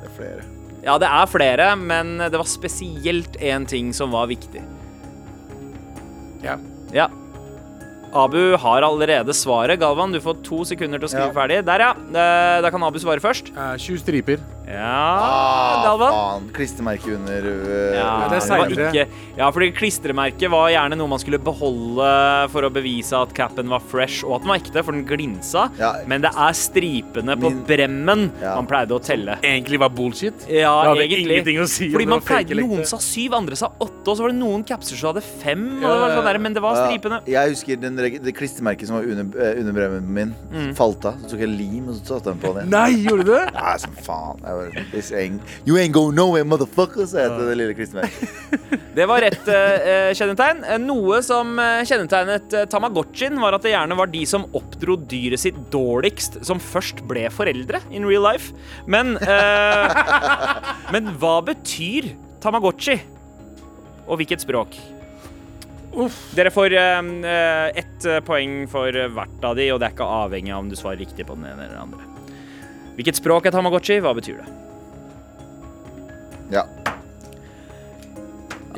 Det er flere. Ja, det er flere, men det var spesielt én ting som var viktig. Ja. Ja. Abu har allerede svaret. Galvan, du får to sekunder til å skrive Ja. ferdig. Der, ja. Eh, Da kan Abu svare først. Eh, Sju striper. Ja, Galvan. Ah, faen. Klistremerke under øh, Ja, Ah, det det er var seinere. ikke, ja, fordi klistremerket var gjerne noe man skulle beholde for å bevise at capen var fresh og at den var ekte, for den glinsa. Ja. Men det er stripene på Min- bremmen Ja. man pleide å telle. Egentlig var bullshit. Ja, Det hadde egentlig. ingenting å si om Fordi det man var fake pleide eller Noen ekte. sa syv, andre sa åtte, og så var det noen capser som hadde fem. Og Ja, det var ja, sånn ja. der, men det var Ja, stripene. Jeg husker den, reg- det klistremerket som var under, eh, under bremmen min. Mm. Falt av. Så tok jeg lim, og så satte jeg den på den igjen. Nei, gjorde du det? Nei, som faen. Jeg bare, This ain't, you ain't go nowhere, motherfucker, sa jeg til det lille klistremerket. Det var rett eh, eh, kjennetegn. Eh, Noe som eh, kjennetegnet eh, Tamagotchien, var at det gjerne var de som oppdro dyret sitt dårligst, som først ble foreldre in real life. Men eh, Men hva betyr Tamagotchi? Og hvilket språk? Dere får eh, eh, ett eh, poeng for eh, hvert av de, og det er ikke avhengig av om du svarer riktig på den ene eller den andre. Hvilket språk er Tamagotchi? Hva betyr det? Ja. [laughs]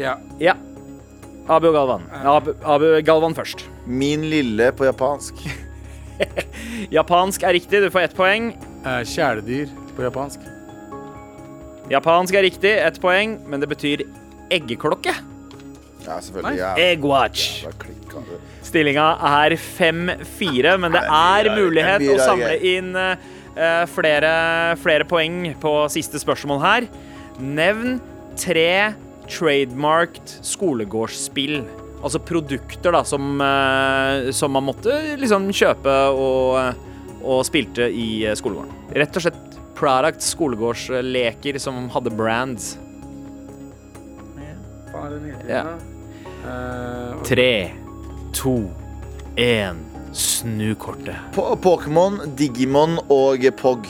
Ja. Ja. Abu og Galvan. Abu, Abu Galvan først. Min lille på japansk. Japansk er riktig, du får ett poeng. Eh, Kjæledyr på japansk. Japansk er riktig, ett poeng, men det betyr eggeklokke. Ja, selvfølgelig. Ja. Eggwatch. Da klikka det. Stillinga er 5-4, men det er mye mulighet å rarere. Det er mye samle rarere. inn eh, flere, flere poeng på siste spørsmål her. Nevn tre trademarked skolegårdsspill. Altså produkter da, som, eh, som man måtte liksom kjøpe og, eh, og spilte i eh, skolegården. Rett og slett product skolegårdsleker som hadde brands. Ja. Eh, Tre, to, én. Snu kortet. Po- Pokémon, Digimon og Pog.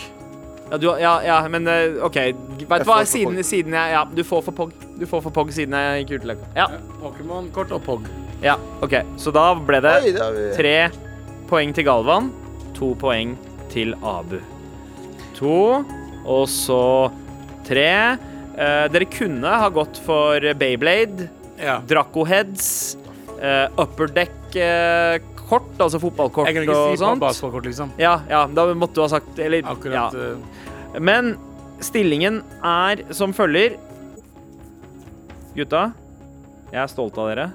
Ja, du, ja, ja men eh, OK. Vet Jeg du hva, får for siden, Pog. siden jeg Ja, du får for Pog. Du får for Pog siden jeg gikk uteløp. Ja, Pokémon-kort og Pog. ja, OK. Så da ble det Oi, da har vi- Eh, tre poeng til Galvan, to poeng til Abu. To, og så tre. Eh, dere kunne ha gått for Bayblade, Ja. Dracoheads, uh, upperdeck-kort, altså fotballkort Jeg kan ikke og si på sånt. basketballkort, liksom. Ja, ja, da måtte du ha sagt eller, Akkurat. ja. eh, Men stillingen er som følger. Gutta, jeg er stolt av dere.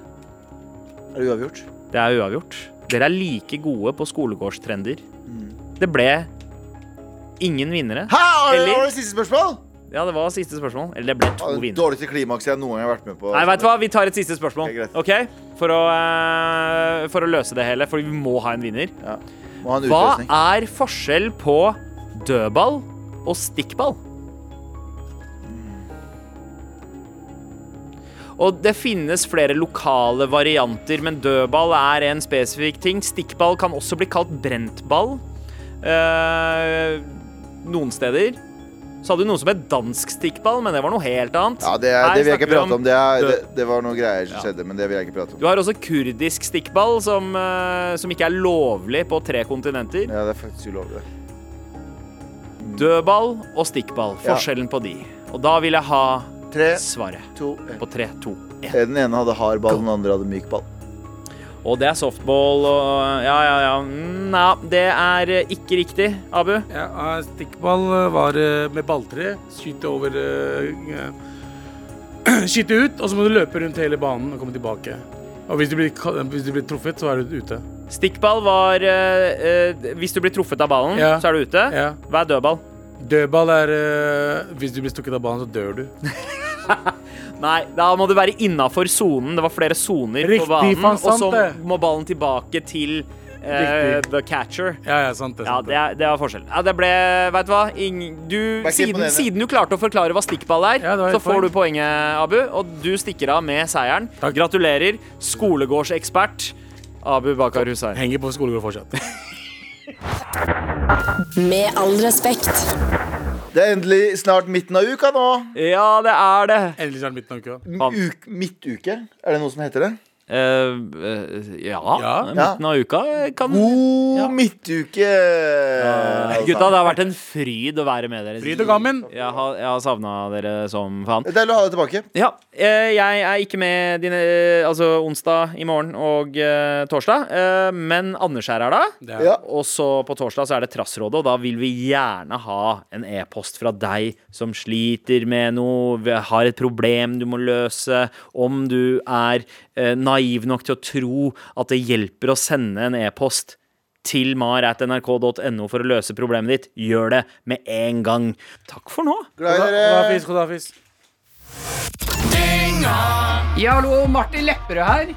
Er det uavgjort? Det er uavgjort. Dere er like gode på skolegårdstrender. Det ble ingen vinnere. Mm. Hæ, var det, Eller- var det siste spørsmål? Ja, det var siste spørsmål. Eller det ble Ja, to det vinnere. dårligste klimakset jeg noen gang har vært med på. Nei, vet du hva? Vi tar et siste spørsmål. Ok, greit. Ok? For å, eh, for å løse det hele, for vi må ha en vinner. Må ha en Hva utløsning. er forskjell på dødball og stikkball? Og det finnes flere lokale varianter, men dødball er en spesifikk ting. Stikkball kan også bli kalt brentball. Eh, noen steder. Så hadde du noe som het dansk stikkball, men det var noe helt annet. Ja, det, er, Her det vil jeg snakker ikke vi prate om. Det, er, død- det, det var noen greier som skjedde, men det vil jeg ikke prate om. Du har også kurdisk stikkball, som, eh, som ikke er lovlig på tre kontinenter. Ja, det er faktisk ulovlig. Dødball og stikkball. Ja. Forskjellen på de. Og da vil jeg ha Tre, svaret to, en. Eh, på 3, 2, 1. Den ene hadde hard ball, den andre hadde myk ball. Og det er softball og Ja, ja, ja. Mm, ja det er eh, ikke riktig, Abu. Ja, eh, stikkball eh, var eh, med balltre. Skyte over eh, eh, [clears throat] Skyte ut, og så må du løpe rundt hele banen og komme tilbake. Og hvis du blir, ka- hvis du blir truffet, så er du ute. Stikkball var eh, eh, Hvis du blir truffet av ballen, Ja. så er du ute. Ja. Hva er dødball? Dødball er eh, Hvis du blir stukket av ballen, så dør du. Nei, da må du være innafor sonen. Det var flere soner på Riktig, banen. faen, Og så sant det. må ballen tilbake til eh, Riktig. the catcher. Ja, ja, sant det. Ja, Sant det, er, det var forskjell. Ja, det ble Vet du hva? Ing, du, Sånn, Vær ikke siden, imponerende. siden du klarte å forklare hva stikkball er, Ja, det var så et får poeng. du poenget, Abu. Og du stikker av med seieren. Takk. Gratulerer, skolegårdsekspert Abu Bakar Hussein. Henger på skolegård [laughs] fortsatt. Med all respekt. Det er endelig snart midten av uka nå. Ja, det er det. Endelig snart midten av uka. Uk, midtuke? Er det noe som heter det? Eh, ja. Ja. Midten av uka kan God Oh, midtuke! Gutta, det har vært en fryd å være med dere. Fryd og gammen. Jeg har, jeg har savna dere som faen. Deilig å ha deg tilbake. Ja, eh, jeg er ikke med dine, eh, altså onsdag i morgen og eh, torsdag, eh, men Anders her er da. Det er Ja. Og så på torsdag så er det Trassrådet, og da vil vi gjerne ha en e-post fra deg som sliter med noe, har et problem du må løse, om du er eh, naiv nok til å tro at det hjelper å sende en e-post til mar.nrk.no for å løse problemet ditt. Gjør det med en gang. Takk for nå. Glad i dere. Godafis, godafis. Ja, hallo, Martin Lepperød her.